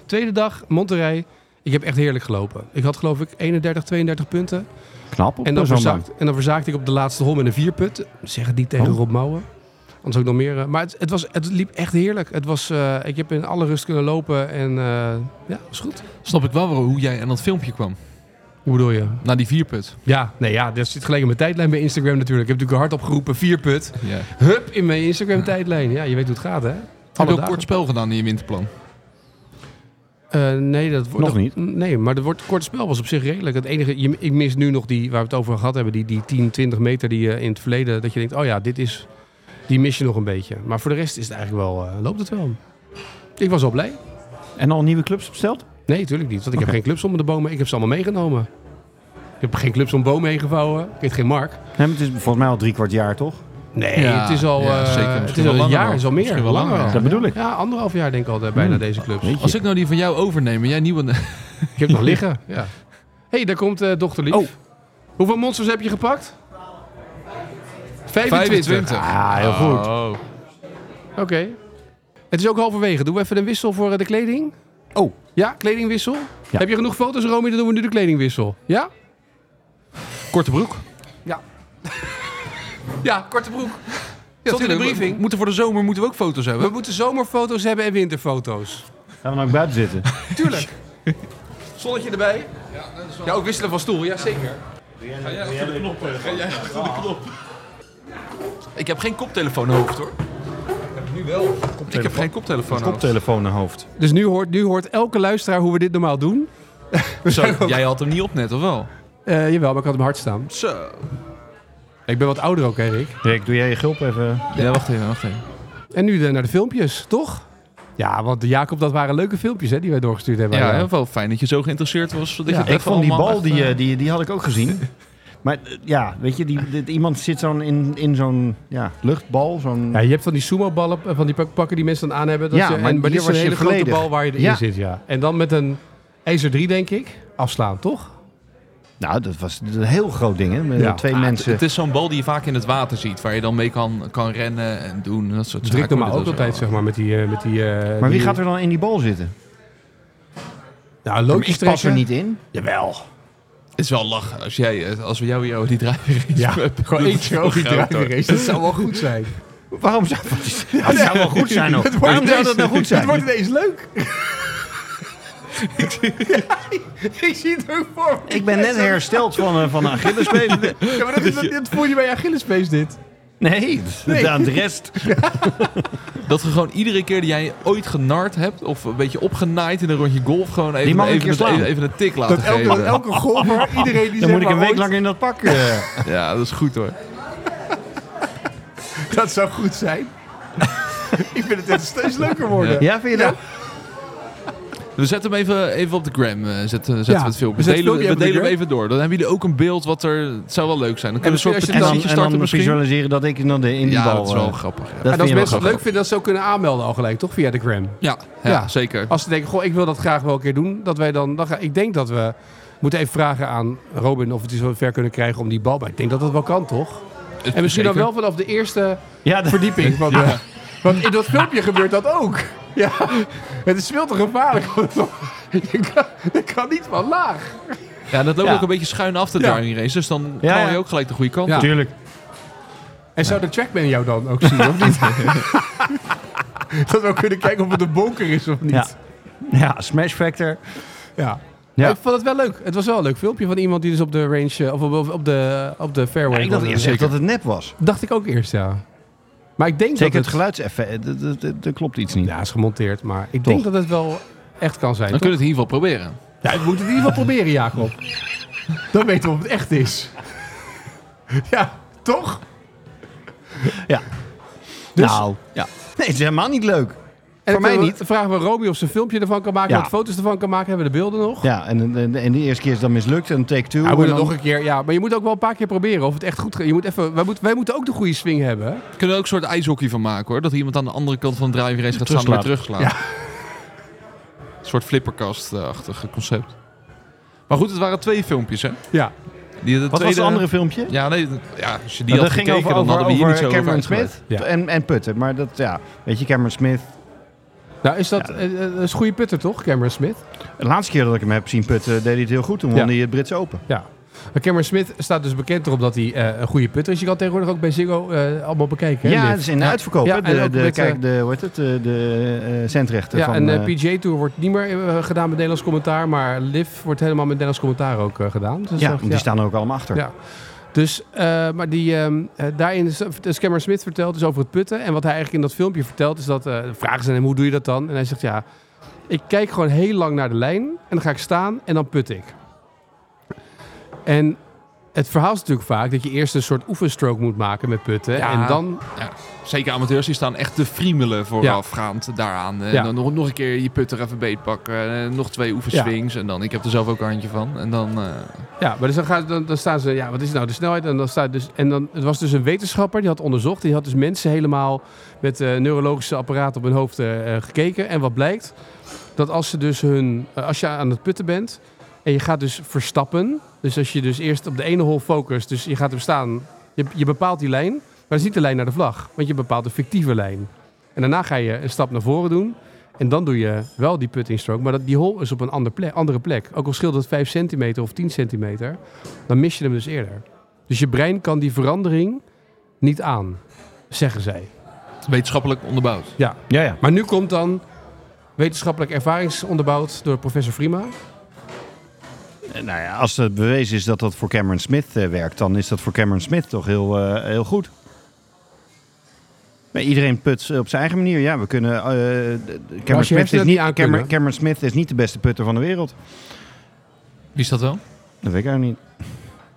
[SPEAKER 2] Tweede dag, Monterrey. Ik heb echt heerlijk gelopen. Ik had geloof ik 31, 32 punten.
[SPEAKER 3] Knap op
[SPEAKER 2] En dan,
[SPEAKER 3] zo'n
[SPEAKER 2] verzaakt, en dan verzaakte ik op de laatste hol met een vierput. Zeg het niet tegen
[SPEAKER 3] Oh.
[SPEAKER 2] Rob Mouwen. Anders ook nog meer. eh, Maar het, het, was, het liep echt heerlijk. Het was, eh, ik heb in alle rust kunnen lopen. En eh, ja, was goed.
[SPEAKER 4] Snap ik wel hoe jij aan dat filmpje kwam.
[SPEAKER 2] Hoe bedoel je?
[SPEAKER 4] Na die vierput.
[SPEAKER 2] Ja, nee, ja, dat zit gelegen in mijn tijdlijn bij Instagram natuurlijk. Ik heb natuurlijk hard opgeroepen, vierput.
[SPEAKER 4] Ja.
[SPEAKER 2] Hup, in mijn Instagram tijdlijn. Ja, je weet hoe het gaat, hè?
[SPEAKER 4] Heb je ook
[SPEAKER 2] dagen.
[SPEAKER 4] kort spel gedaan in je winterplan?
[SPEAKER 2] Eh, nee, dat wordt
[SPEAKER 3] Nog
[SPEAKER 2] dat-
[SPEAKER 3] niet?
[SPEAKER 2] Nee, maar het wordt, korte spel was op zich redelijk. Het enige, je, ik mis nu nog die waar we het over gehad hebben, die, die 10, 20 meter die je in het verleden dat je denkt, oh ja, dit is, die mis je nog een beetje. Maar voor de rest is het eigenlijk wel, eh, loopt het wel. Ik was al blij.
[SPEAKER 3] baan. En al nieuwe clubs besteld?
[SPEAKER 2] Nee, natuurlijk niet, want ik heb
[SPEAKER 3] Oké.
[SPEAKER 2] geen clubs onder de bomen. Ik heb ze allemaal meegenomen. Ik heb geen clubs om bomen heen gevouwen. Ik heet geen Mark.
[SPEAKER 3] Nee, maar het is volgens mij al drie kwart jaar, toch?
[SPEAKER 2] Nee,
[SPEAKER 4] Ja,
[SPEAKER 2] het is al,
[SPEAKER 4] ja,
[SPEAKER 2] eh,
[SPEAKER 4] zeker.
[SPEAKER 2] het is
[SPEAKER 4] Misschien wel
[SPEAKER 2] al een
[SPEAKER 4] langer
[SPEAKER 2] jaar,
[SPEAKER 4] al.
[SPEAKER 2] is al meer.
[SPEAKER 4] Misschien wel langer al.
[SPEAKER 2] al.
[SPEAKER 3] Dat bedoel ik.
[SPEAKER 2] Ja, anderhalf jaar denk ik al eh, bijna
[SPEAKER 3] Hmm.
[SPEAKER 2] deze clubs.
[SPEAKER 3] Weet je.
[SPEAKER 4] Als ik nou die van jou overneem en jij nieuwe...
[SPEAKER 2] Ik heb nog liggen. Ja. hey, daar komt eh dochter Lief.
[SPEAKER 3] Oh.
[SPEAKER 2] Hoeveel monsters heb je gepakt? 25.
[SPEAKER 4] 25.
[SPEAKER 3] Oh. Ah, heel goed.
[SPEAKER 4] Oh.
[SPEAKER 2] Oké. Het is ook halverwege. Doen we even een wissel voor eh, de kleding?
[SPEAKER 3] Oh.
[SPEAKER 2] Ja, kledingwissel.
[SPEAKER 3] Ja.
[SPEAKER 2] Heb je genoeg foto's, Romy? Dan doen we nu de kledingwissel. Ja?
[SPEAKER 4] Korte broek.
[SPEAKER 2] Ja, korte broek. Ja,
[SPEAKER 4] Zat
[SPEAKER 2] dat is
[SPEAKER 4] in
[SPEAKER 2] de briefing.
[SPEAKER 4] Moeten voor de zomer moeten we ook foto's
[SPEAKER 2] We
[SPEAKER 4] hebben.
[SPEAKER 2] moeten zomerfoto's hebben en winterfoto's.
[SPEAKER 3] Gaan we nou ook buiten zitten?
[SPEAKER 2] Tuurlijk. Zonnetje erbij. Ja, ook wisselen van stoel. Ja, zeker.
[SPEAKER 4] eh, Ah. Ik heb geen koptelefoon hoofd hoor. nu wel. Ik heb geen koptelefoon hoofd.
[SPEAKER 3] Koptelefoon naar eh, hoofd.
[SPEAKER 2] Dus nu hoort, nu hoort elke luisteraar hoe we dit normaal doen.
[SPEAKER 4] Zo, jij had hem niet op net, of wel?
[SPEAKER 2] Eh, jawel, maar ik had hem hard staan.
[SPEAKER 4] Zo.
[SPEAKER 2] Ik ben wat ouder ook, Erik.
[SPEAKER 3] Rick, doe jij je gulp even?
[SPEAKER 4] Ja, wacht even, wacht even.
[SPEAKER 2] En nu eh, naar de filmpjes, toch? Ja, want Jacob, dat waren leuke filmpjes hè, die wij doorgestuurd hebben.
[SPEAKER 4] Ja,
[SPEAKER 2] aan jou.
[SPEAKER 4] heel wel fijn dat je zo geïnteresseerd was. Dat je
[SPEAKER 2] Ja,
[SPEAKER 4] het
[SPEAKER 3] Ik
[SPEAKER 4] even
[SPEAKER 3] vond die
[SPEAKER 4] allemaal
[SPEAKER 3] bal,
[SPEAKER 4] echt,
[SPEAKER 3] die,
[SPEAKER 4] eh,
[SPEAKER 3] eh, die, die had ik ook gezien. Maar eh, ja, weet je, die, dit- iemand zit zo'n in, in zo'n ja, luchtbal. Zo'n,
[SPEAKER 2] Ja, je hebt van die sumo-ballen, eh, van die pak- pakken die mensen dan aan hebben. Dat
[SPEAKER 3] Ja,
[SPEAKER 2] je-
[SPEAKER 3] maar
[SPEAKER 2] en, maar
[SPEAKER 3] hier
[SPEAKER 2] dit is een
[SPEAKER 3] was je
[SPEAKER 2] hele grote
[SPEAKER 3] volledig.
[SPEAKER 2] bal waar je erin
[SPEAKER 3] Ja.
[SPEAKER 2] zit, ja. En dan met een ijzer 3, denk ik, afslaan, toch?
[SPEAKER 3] Nou, dat was een heel groot ding, hè? Met
[SPEAKER 2] Ja.
[SPEAKER 3] twee
[SPEAKER 4] ah,
[SPEAKER 3] mensen.
[SPEAKER 4] Het is zo'n bal die je vaak in het water ziet. Waar je dan mee kan, kan rennen en doen. en Dat soort
[SPEAKER 2] Dat drukt
[SPEAKER 4] zaken.
[SPEAKER 2] normaal
[SPEAKER 4] Dat
[SPEAKER 2] ook
[SPEAKER 4] is wel-
[SPEAKER 2] altijd, zeg maar, met die... eh, met die eh,
[SPEAKER 3] maar wie
[SPEAKER 2] die-
[SPEAKER 3] gaat er dan in die bal zitten?
[SPEAKER 2] Nou,
[SPEAKER 3] ik
[SPEAKER 2] loodjes
[SPEAKER 3] pas er
[SPEAKER 2] trekken.
[SPEAKER 3] niet in.
[SPEAKER 2] Jawel.
[SPEAKER 4] Het is wel lachen als, jij, eh, als we jou hier over die drijver
[SPEAKER 2] Ja, gewoon
[SPEAKER 4] Dat is
[SPEAKER 2] eentje
[SPEAKER 4] wel
[SPEAKER 2] over die
[SPEAKER 4] groot,
[SPEAKER 2] driving race. Dat zou wel goed zijn.
[SPEAKER 3] Waarom zou dat zou wel goed zijn ook. Waarom zou dat nou goed zijn?
[SPEAKER 2] Het wordt ineens leuk. ik zie het ook voor me.
[SPEAKER 3] Ik ben net hersteld van, eh, van een Achillespees.
[SPEAKER 2] Ja, maar dat, is- dat, dat voel je bij Achillespees dit.
[SPEAKER 3] Nee,
[SPEAKER 2] Nee.
[SPEAKER 3] aan de rest.
[SPEAKER 4] Dat we gewoon iedere keer die jij ooit genard hebt, of een beetje opgenaaid in een rondje golf, gewoon even,
[SPEAKER 3] Die mag een
[SPEAKER 4] even,
[SPEAKER 3] keer
[SPEAKER 4] een,
[SPEAKER 3] slaan.
[SPEAKER 4] even, even een tik laten
[SPEAKER 2] Dat
[SPEAKER 4] geven.
[SPEAKER 2] elke, elke golfer, iedereen die
[SPEAKER 3] Dan
[SPEAKER 2] zegt
[SPEAKER 3] moet ik een
[SPEAKER 2] maar
[SPEAKER 3] week
[SPEAKER 2] ooit,
[SPEAKER 3] lang in dat pak. eh.
[SPEAKER 4] Ja, dat is goed hoor.
[SPEAKER 2] Dat zou goed zijn. ik vind het echt steeds leuker worden.
[SPEAKER 3] Ja, vind je dat?
[SPEAKER 4] We zetten hem even, even op de gram. eh, Zetten, zetten
[SPEAKER 2] Ja,
[SPEAKER 4] we het
[SPEAKER 2] we
[SPEAKER 4] filmpje. We
[SPEAKER 2] zetten
[SPEAKER 4] delen,
[SPEAKER 2] het filmpje even op
[SPEAKER 4] we delen
[SPEAKER 2] de
[SPEAKER 4] hem even door. Dan hebben jullie ook een beeld wat er. Het zou wel leuk zijn. Dan kunnen we
[SPEAKER 2] misschien
[SPEAKER 4] een soort
[SPEAKER 2] als je
[SPEAKER 3] En dan,
[SPEAKER 4] petitie
[SPEAKER 3] en
[SPEAKER 4] starten
[SPEAKER 3] dan
[SPEAKER 4] misschien.
[SPEAKER 3] visualiseer dat ik in, dat- in die
[SPEAKER 4] Ja,
[SPEAKER 3] bal...
[SPEAKER 4] dat is wel
[SPEAKER 3] eh,
[SPEAKER 4] grappig. Ja,
[SPEAKER 3] dat
[SPEAKER 2] en
[SPEAKER 3] vind
[SPEAKER 2] als
[SPEAKER 3] je
[SPEAKER 2] mensen het
[SPEAKER 3] wel
[SPEAKER 2] leuk vinden, dat ze ook kunnen aanmelden al gelijk, toch? Via de gram.
[SPEAKER 4] ja, ja,
[SPEAKER 2] Ja.
[SPEAKER 4] zeker.
[SPEAKER 2] Als ze denken, goh, ik wil dat graag wel een keer doen. Dat wij dan, dan gaan- ik denk dat we moeten even vragen aan Robin of we het zo ver kunnen krijgen om die bal. Maar ik denk dat dat wel kan, toch? En misschien dan wel vanaf de eerste
[SPEAKER 3] Ja, dat-
[SPEAKER 2] verdieping. Want, eh, want in dat filmpje gebeurt dat ook. Ja, het is veel te gevaarlijk. want Je kan, je kan niet van laag.
[SPEAKER 4] Ja, dat loopt
[SPEAKER 3] Ja.
[SPEAKER 4] ook een beetje schuin af de
[SPEAKER 2] Ja.
[SPEAKER 4] driving race. Dus dan
[SPEAKER 3] Ja,
[SPEAKER 4] knal je
[SPEAKER 3] ja.
[SPEAKER 4] ook gelijk de goede kant.
[SPEAKER 2] Ja.
[SPEAKER 4] op.
[SPEAKER 3] Tuurlijk.
[SPEAKER 2] En zou de trackman jou dan ook zien, of niet? dat we ook kunnen kijken of het een bonker is of niet.
[SPEAKER 3] Ja. Ja, Smash Factor.
[SPEAKER 2] Ja.
[SPEAKER 3] Ja.
[SPEAKER 2] Ik vond het wel leuk. Het was wel een leuk filmpje van iemand die dus op de range, eh, of op, op- op de, op de fairway.
[SPEAKER 3] ik dacht
[SPEAKER 2] kwam.
[SPEAKER 3] eerst echt dat het nep was.
[SPEAKER 2] Dacht ik ook eerst, ja. Maar ik denk
[SPEAKER 3] Zeker
[SPEAKER 2] dat
[SPEAKER 3] het
[SPEAKER 2] het...
[SPEAKER 3] geluidseffect, dat- dat- dat- dat klopt iets niet.
[SPEAKER 2] Ja, is gemonteerd, maar ik
[SPEAKER 3] Toch.
[SPEAKER 2] denk dat het wel echt kan zijn.
[SPEAKER 4] Dan
[SPEAKER 2] toch?
[SPEAKER 4] kunnen we het in ieder geval proberen.
[SPEAKER 2] Ja, we moeten het in ieder geval proberen, Jacob. Dan weten we of het echt is. Ja, toch?
[SPEAKER 3] Ja.
[SPEAKER 2] Dus-
[SPEAKER 3] nou, ja. Nee, het is helemaal niet leuk.
[SPEAKER 2] En dan
[SPEAKER 3] Voor mij
[SPEAKER 2] kunnen we-
[SPEAKER 3] niet.
[SPEAKER 2] dan vragen we Romy of ze een filmpje ervan kan maken,
[SPEAKER 3] Ja.
[SPEAKER 2] wat foto's ervan kan maken. Hebben we de beelden nog?
[SPEAKER 3] Ja, en, en, en die eerste keer is dan mislukt en take two.
[SPEAKER 2] Ja, we
[SPEAKER 3] en
[SPEAKER 2] moeten
[SPEAKER 3] dan-
[SPEAKER 2] nog een keer, ja. Maar je moet ook wel een paar keer proberen of het echt goed gaat. Je moet even, wij, moet, wij moeten ook de goede swing hebben. hè?
[SPEAKER 4] Kunnen we ook een soort ijshockey van maken hoor. Dat iemand aan de andere kant van de driving race gaat staan en weer
[SPEAKER 3] Terugslaat.
[SPEAKER 4] terugslaat.
[SPEAKER 2] Ja.
[SPEAKER 4] Een soort flipperkast-achtig concept. Maar goed, het waren twee filmpjes hè.
[SPEAKER 2] Ja.
[SPEAKER 4] Die, de
[SPEAKER 3] Wat was het andere filmpje?
[SPEAKER 4] Ja, nee, ja, als je die
[SPEAKER 3] Nou,
[SPEAKER 4] had
[SPEAKER 3] dat ging
[SPEAKER 4] gekeken,
[SPEAKER 3] over,
[SPEAKER 4] dan
[SPEAKER 3] over,
[SPEAKER 4] hadden we hier
[SPEAKER 3] over eh,
[SPEAKER 4] niet zo
[SPEAKER 3] Cameron
[SPEAKER 4] over
[SPEAKER 3] Smith
[SPEAKER 2] Ja.
[SPEAKER 3] en, en Putten. Maar dat, ja, weet je, Cameron Smith...
[SPEAKER 2] Nou, is dat, eh, eh, dat is een goede putter toch, Cameron Smith?
[SPEAKER 3] De laatste keer dat ik hem heb zien putten, deed hij het heel goed. Toen won
[SPEAKER 2] Ja.
[SPEAKER 3] hij het Brits Open.
[SPEAKER 2] Ja. Maar Cameron Smith staat dus bekend erop dat hij eh, een goede putter is. Je kan tegenwoordig ook bij Ziggo eh, allemaal bekijken. hè,
[SPEAKER 3] ja,
[SPEAKER 2] dit.
[SPEAKER 3] het is in de uitverkoop.
[SPEAKER 2] Ja,
[SPEAKER 3] hè.
[SPEAKER 2] en ook
[SPEAKER 3] de, de,
[SPEAKER 2] met, eh,
[SPEAKER 3] kijk, de, hoe heet het, de, de eh, centrechten
[SPEAKER 2] Ja,
[SPEAKER 3] van...
[SPEAKER 2] en
[SPEAKER 3] eh,
[SPEAKER 2] de PJ Tour wordt niet meer eh, gedaan met Nederlands commentaar, maar Liv wordt helemaal met Nederlands commentaar ook eh, gedaan. Dus,
[SPEAKER 3] ja,
[SPEAKER 2] dat-
[SPEAKER 3] want die staan er ook allemaal achter.
[SPEAKER 2] Ja. Dus, eh, maar die, ehm, eh, daarin is, is Cameron Smith vertelt dus over het putten. En wat hij eigenlijk in dat filmpje vertelt is dat, eh, de vraag is aan hem, hoe doe je dat dan? En hij zegt, ja, ik kijk gewoon heel lang naar de lijn en dan ga ik staan en dan put ik. En het verhaal is natuurlijk vaak dat je eerst een soort oefenstroke moet maken met putten.
[SPEAKER 4] Ja.
[SPEAKER 2] En dan
[SPEAKER 4] Zeker amateurs, die staan echt te friemelen voorafgaand daaraan. En
[SPEAKER 2] Ja.
[SPEAKER 4] dan nog, nog een keer je putter even beetpakken. eh, nog twee oefenswings. En dan, ik heb er zelf ook een handje van. En dan, eh,
[SPEAKER 2] Ja, maar dus dan, gaan, dan, dan staan ze, ja, wat is nou de snelheid? En dan staat dus, en dan, het was dus een wetenschapper die had onderzocht. Die had dus mensen helemaal met eh, neurologische apparaten op hun hoofd eh, eh, gekeken. En wat blijkt? Dat als, ze dus hun, eh, als je aan het putten bent en je gaat dus verstappen. Dus als je dus eerst op de ene hol focust, dus je gaat hem staan. Je, je bepaalt die lijn, maar dat is niet de lijn naar de vlag. Want je bepaalt een fictieve lijn. En daarna ga je een stap naar voren doen. En dan doe je wel die putting stroke. Maar dat, die hole is op een ander plek, andere plek. Ook al scheelt het 5 centimeter of 10 centimeter. Dan mis je hem dus eerder. Dus je brein kan die verandering niet aan. Zeggen zij.
[SPEAKER 4] Wetenschappelijk onderbouwd.
[SPEAKER 3] Ja, ja.
[SPEAKER 2] Maar nu komt dan wetenschappelijk ervaringsonderbouwd door professor Frima.
[SPEAKER 3] Eh, Nou ja, als het bewezen is dat dat voor Cameron Smith eh, werkt, dan is dat voor Cameron Smith toch heel, eh, heel goed. Maar iedereen put eh, op zijn eigen manier. Ja, we kunnen. eh, d- d- Cameron,
[SPEAKER 2] als je hersenen
[SPEAKER 3] Smith is
[SPEAKER 2] dat
[SPEAKER 3] niet,
[SPEAKER 2] niet aan
[SPEAKER 3] Cameron,
[SPEAKER 2] kunnen.
[SPEAKER 3] Cameron Smith is niet de beste putter van de wereld.
[SPEAKER 4] Wie is dat wel?
[SPEAKER 3] Dat weet ik eigenlijk niet.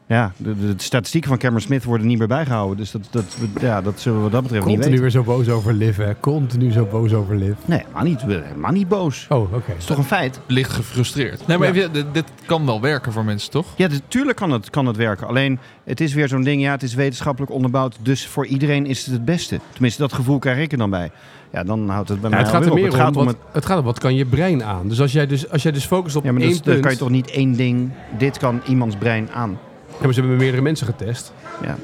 [SPEAKER 3] Ja, de, de, de statistieken van Cameron Smith worden niet meer bijgehouden. Dus dat, dat, ja, dat zullen we wat dat betreft niet
[SPEAKER 1] Continu
[SPEAKER 3] weten.
[SPEAKER 1] weer zo boos over Liv, hè. Continu zo boos over Liv.
[SPEAKER 3] Nee, maar niet, maar niet boos.
[SPEAKER 1] Oh, oké.
[SPEAKER 3] Dat is toch een feit?
[SPEAKER 4] Licht gefrustreerd. Nee, maar even, dit- dit kan wel werken voor mensen, toch?
[SPEAKER 3] Ja, natuurlijk kan het, kan het werken. Alleen, het is weer zo'n ding, ja, het is wetenschappelijk onderbouwd. Dus voor iedereen is het het beste. Tenminste, dat gevoel krijg ik er dan bij. Ja, dan houdt Nou, het bij
[SPEAKER 2] Ja,
[SPEAKER 3] mij
[SPEAKER 2] het gaat er
[SPEAKER 3] alweer
[SPEAKER 2] meer
[SPEAKER 3] op.
[SPEAKER 2] om, wat, het... gaat om wat kan je brein aan. Dus als jij dus, als jij dus focust op
[SPEAKER 3] Ja, maar
[SPEAKER 2] één
[SPEAKER 3] dat, is- dat
[SPEAKER 2] punt...
[SPEAKER 3] kan je toch niet één ding... Dit kan iemands brein aan.
[SPEAKER 2] Ja, maar ze hebben meerdere mensen getest.
[SPEAKER 3] Ja,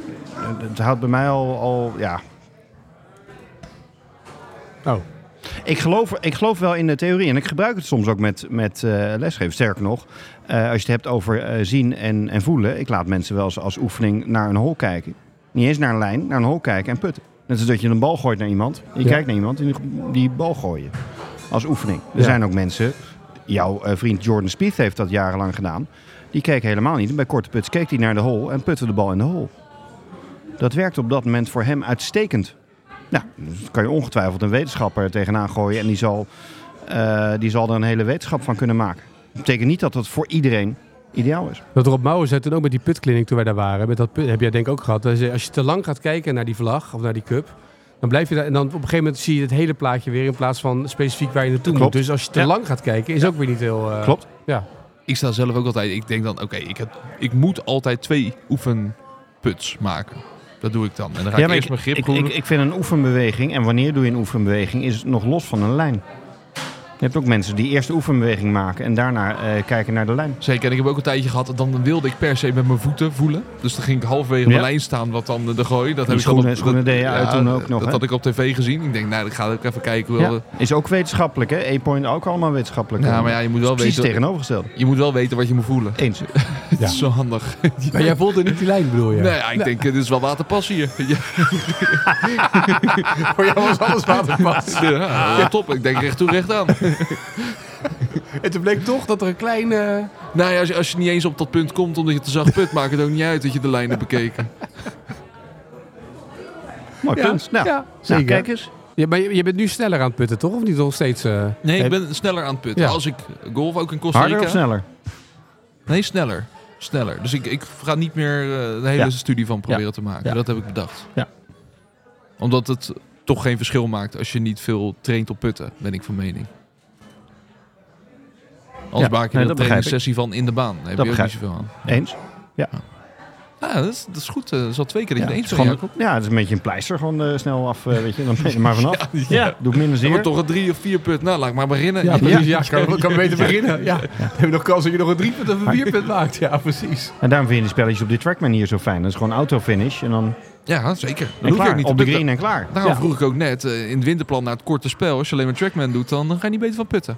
[SPEAKER 3] het houdt bij mij al... al ja.
[SPEAKER 2] Oh.
[SPEAKER 3] ik, geloof, ik geloof wel in de theorie. En ik gebruik het soms ook met, met eh, lesgeven. Sterker nog, eh, als je het hebt over eh, zien en, en voelen... Ik laat mensen wel eens als oefening naar een hol kijken. Niet eens naar een lijn, naar een hol kijken en putten. Net als dat je een bal gooit naar iemand. Je
[SPEAKER 1] Ja.
[SPEAKER 3] kijkt naar iemand en die, die bal gooien. Als oefening. Er
[SPEAKER 2] Ja.
[SPEAKER 3] zijn ook mensen... Jouw eh, vriend Jordan Spieth heeft dat jarenlang gedaan. Die keek helemaal niet. En bij korte puts keek hij naar de hol en putte de bal in de hol. Dat werkt op dat moment voor hem uitstekend. Nou, dus kan je ongetwijfeld een wetenschapper tegenaan gooien. En die zal, eh, die zal er een hele wetenschap van kunnen maken. Dat betekent niet dat dat voor iedereen ideaal is.
[SPEAKER 2] Dat Rob Mouwen zei toen ook met die putkliniek toen wij daar waren. Met dat put, heb jij denk ik ook gehad. Dat ze- als je te lang gaat kijken naar die vlag of naar die cup. Dan blijf je daar. En dan op een gegeven moment zie je het hele plaatje weer. In plaats van specifiek waar je naartoe
[SPEAKER 3] Klopt.
[SPEAKER 2] moet. Dus als je te
[SPEAKER 3] Ja.
[SPEAKER 2] lang gaat kijken is ook weer niet heel... eh,
[SPEAKER 3] Klopt.
[SPEAKER 2] Ja.
[SPEAKER 4] Ik sta zelf ook altijd. Ik denk dan, oké, ik, heb- ik moet altijd twee oefenputs maken. Dat doe ik dan. En dan ga ik eerst mijn grip
[SPEAKER 3] ik,
[SPEAKER 4] goed
[SPEAKER 3] ik, ik vind een oefenbeweging, en wanneer doe je een oefenbeweging, is het nog los van een lijn. Je hebt ook mensen die eerst de oefenbeweging maken en daarna eh, kijken naar de lijn.
[SPEAKER 4] Zeker, en ik heb ook een tijdje gehad, dan wilde ik per se met mijn voeten voelen. Dus dan ging ik halverwege
[SPEAKER 3] Ja.
[SPEAKER 4] mijn lijn staan, wat dan de- de gooi. Dat heb ik
[SPEAKER 3] schoenen-
[SPEAKER 4] al op-
[SPEAKER 3] schoenen
[SPEAKER 4] dat-
[SPEAKER 3] deed je uit toen ook nog,
[SPEAKER 4] Dat
[SPEAKER 3] hè?
[SPEAKER 4] had ik op tv gezien. Ik denk, nou, ik ga ook even kijken. Wel,
[SPEAKER 3] Ja. Is ook wetenschappelijk, hè? E-point ook allemaal wetenschappelijk.
[SPEAKER 4] Nou, maar eh, ja, je moet wel
[SPEAKER 3] Precies
[SPEAKER 4] weten...
[SPEAKER 3] het tegenovergestelde.
[SPEAKER 4] Je moet wel weten wat je moet voelen.
[SPEAKER 3] Eens.
[SPEAKER 4] Dat is zo handig.
[SPEAKER 2] Maar jij voelde niet die lijn bedoel je?
[SPEAKER 4] Nou ja, ik denk, dit is wel waterpas hier. Ja,
[SPEAKER 2] Voor jou was alles waterpas.
[SPEAKER 4] ja, wel top. Ik denk recht toe, recht aan.
[SPEAKER 2] en toen bleek toch dat er een kleine...
[SPEAKER 4] Nou ja, als je, als je niet eens op dat punt komt omdat je te zacht put, maakt het ook niet uit dat je de lijn hebt bekeken.
[SPEAKER 3] Mooi
[SPEAKER 2] Ja,
[SPEAKER 3] punt. Nou,
[SPEAKER 2] ja,
[SPEAKER 3] nou,
[SPEAKER 2] zeker.
[SPEAKER 3] kijk eens.
[SPEAKER 2] Ja, maar je, je bent nu sneller aan het putten toch? Of niet nog steeds... eh,
[SPEAKER 4] Nee, ik
[SPEAKER 3] Eh,
[SPEAKER 4] ben sneller aan het putten.
[SPEAKER 2] ja.
[SPEAKER 4] Als ik golf ook in Costa Rica...
[SPEAKER 3] Harder of sneller?
[SPEAKER 4] Nee, sneller. Sneller. Dus ik, ik ga niet meer eh, de hele
[SPEAKER 3] Ja.
[SPEAKER 4] studie van proberen te maken.
[SPEAKER 3] Ja.
[SPEAKER 4] Dat heb ik bedacht.
[SPEAKER 3] Ja.
[SPEAKER 4] Omdat het toch geen verschil maakt als je niet veel traint op putten, ben ik van mening. Anders
[SPEAKER 3] Ja,
[SPEAKER 4] maak je
[SPEAKER 3] nee,
[SPEAKER 4] een
[SPEAKER 3] dat begrijp ik.
[SPEAKER 4] trainingssessie van in de baan. Daar heb
[SPEAKER 3] Dat
[SPEAKER 4] je ook
[SPEAKER 3] begrijp
[SPEAKER 4] niet zoveel aan.
[SPEAKER 3] Eens.
[SPEAKER 4] Ah, dat, is, dat is goed. eh, Dat is al twee keer dat
[SPEAKER 3] Ja,
[SPEAKER 4] je het
[SPEAKER 3] het
[SPEAKER 4] eens
[SPEAKER 3] is
[SPEAKER 4] bent,
[SPEAKER 3] gewoon-
[SPEAKER 4] Jacob.
[SPEAKER 3] ja, het is een beetje een pleister gewoon eh, snel af, eh, weet je. Dan ben je er maar vanaf. Ja, Doe ik minder
[SPEAKER 4] Ja, maar
[SPEAKER 3] zeer.
[SPEAKER 4] toch een drie of vier put. Nou, laat ik maar beginnen.
[SPEAKER 2] Ja,
[SPEAKER 4] Ja,
[SPEAKER 2] precies. Ja, kan, kan beter beginnen. Ja. Dan heb je nog kans dat je nog een driepunt of een vierpunt maakt. Ja, precies.
[SPEAKER 3] En daarom vind je die spelletjes op die trackman hier zo fijn. Dat is gewoon autofinish en dan
[SPEAKER 4] zeker. Dan
[SPEAKER 3] en
[SPEAKER 4] hoef je ook
[SPEAKER 3] klaar.
[SPEAKER 4] niet
[SPEAKER 3] Op de
[SPEAKER 4] te putten.
[SPEAKER 3] green en klaar.
[SPEAKER 4] Daarom
[SPEAKER 3] Ja.
[SPEAKER 4] vroeg ik ook net, eh, in het winterplan naar het korte spel, als je alleen maar trackman doet, dan, dan ga je niet beter van putten.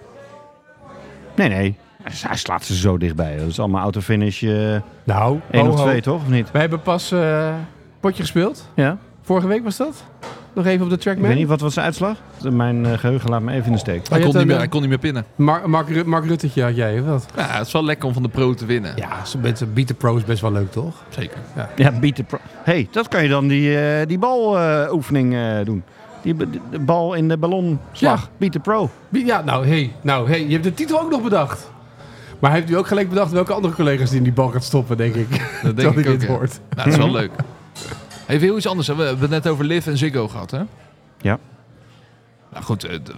[SPEAKER 3] Nee, nee. Hij slaat ze zo dichtbij. Dat is allemaal autofinish eh 1
[SPEAKER 2] Nou,
[SPEAKER 3] of 2 toch? Of niet?
[SPEAKER 2] Wij hebben pas eh, potje gespeeld.
[SPEAKER 3] Ja.
[SPEAKER 2] Vorige week was dat. Nog even op de
[SPEAKER 3] Ik
[SPEAKER 2] trackman.
[SPEAKER 3] weet niet, wat was de uitslag? Mijn eh, geheugen laat me even in de steek.
[SPEAKER 4] Hij
[SPEAKER 2] je
[SPEAKER 4] kon,
[SPEAKER 2] hebt
[SPEAKER 4] niet
[SPEAKER 2] een,
[SPEAKER 4] meer,
[SPEAKER 2] eh,
[SPEAKER 4] hij kon niet meer pinnen.
[SPEAKER 2] Mar- Mark, Ru- Mark Ruttetje had jij, of wat?
[SPEAKER 4] Ja, het is wel lekker om van de pro te winnen.
[SPEAKER 2] Ja, met Beat the Pro is best wel leuk, toch?
[SPEAKER 4] Zeker.
[SPEAKER 3] Ja, beat the pro. hey, dat kan je dan die, eh, die baloefening eh, doen. Die b- de bal in de ballonslag. Beat the pro.
[SPEAKER 2] Ja, nou, hey, nou, hey, je hebt de titel ook nog bedacht. Maar hij heeft nu ook gelijk bedacht welke andere collega's die in die bal gaat stoppen, denk ik.
[SPEAKER 4] Dat denk
[SPEAKER 2] Terwijl
[SPEAKER 4] ik
[SPEAKER 2] hij
[SPEAKER 4] ook.
[SPEAKER 2] dit
[SPEAKER 4] ja.
[SPEAKER 2] hoort.
[SPEAKER 4] Nou, dat is wel leuk. Even heel iets anders. hè. We hebben het net over Liv en Ziggo gehad, hè?
[SPEAKER 3] Ja.
[SPEAKER 4] Nou goed, eh, d-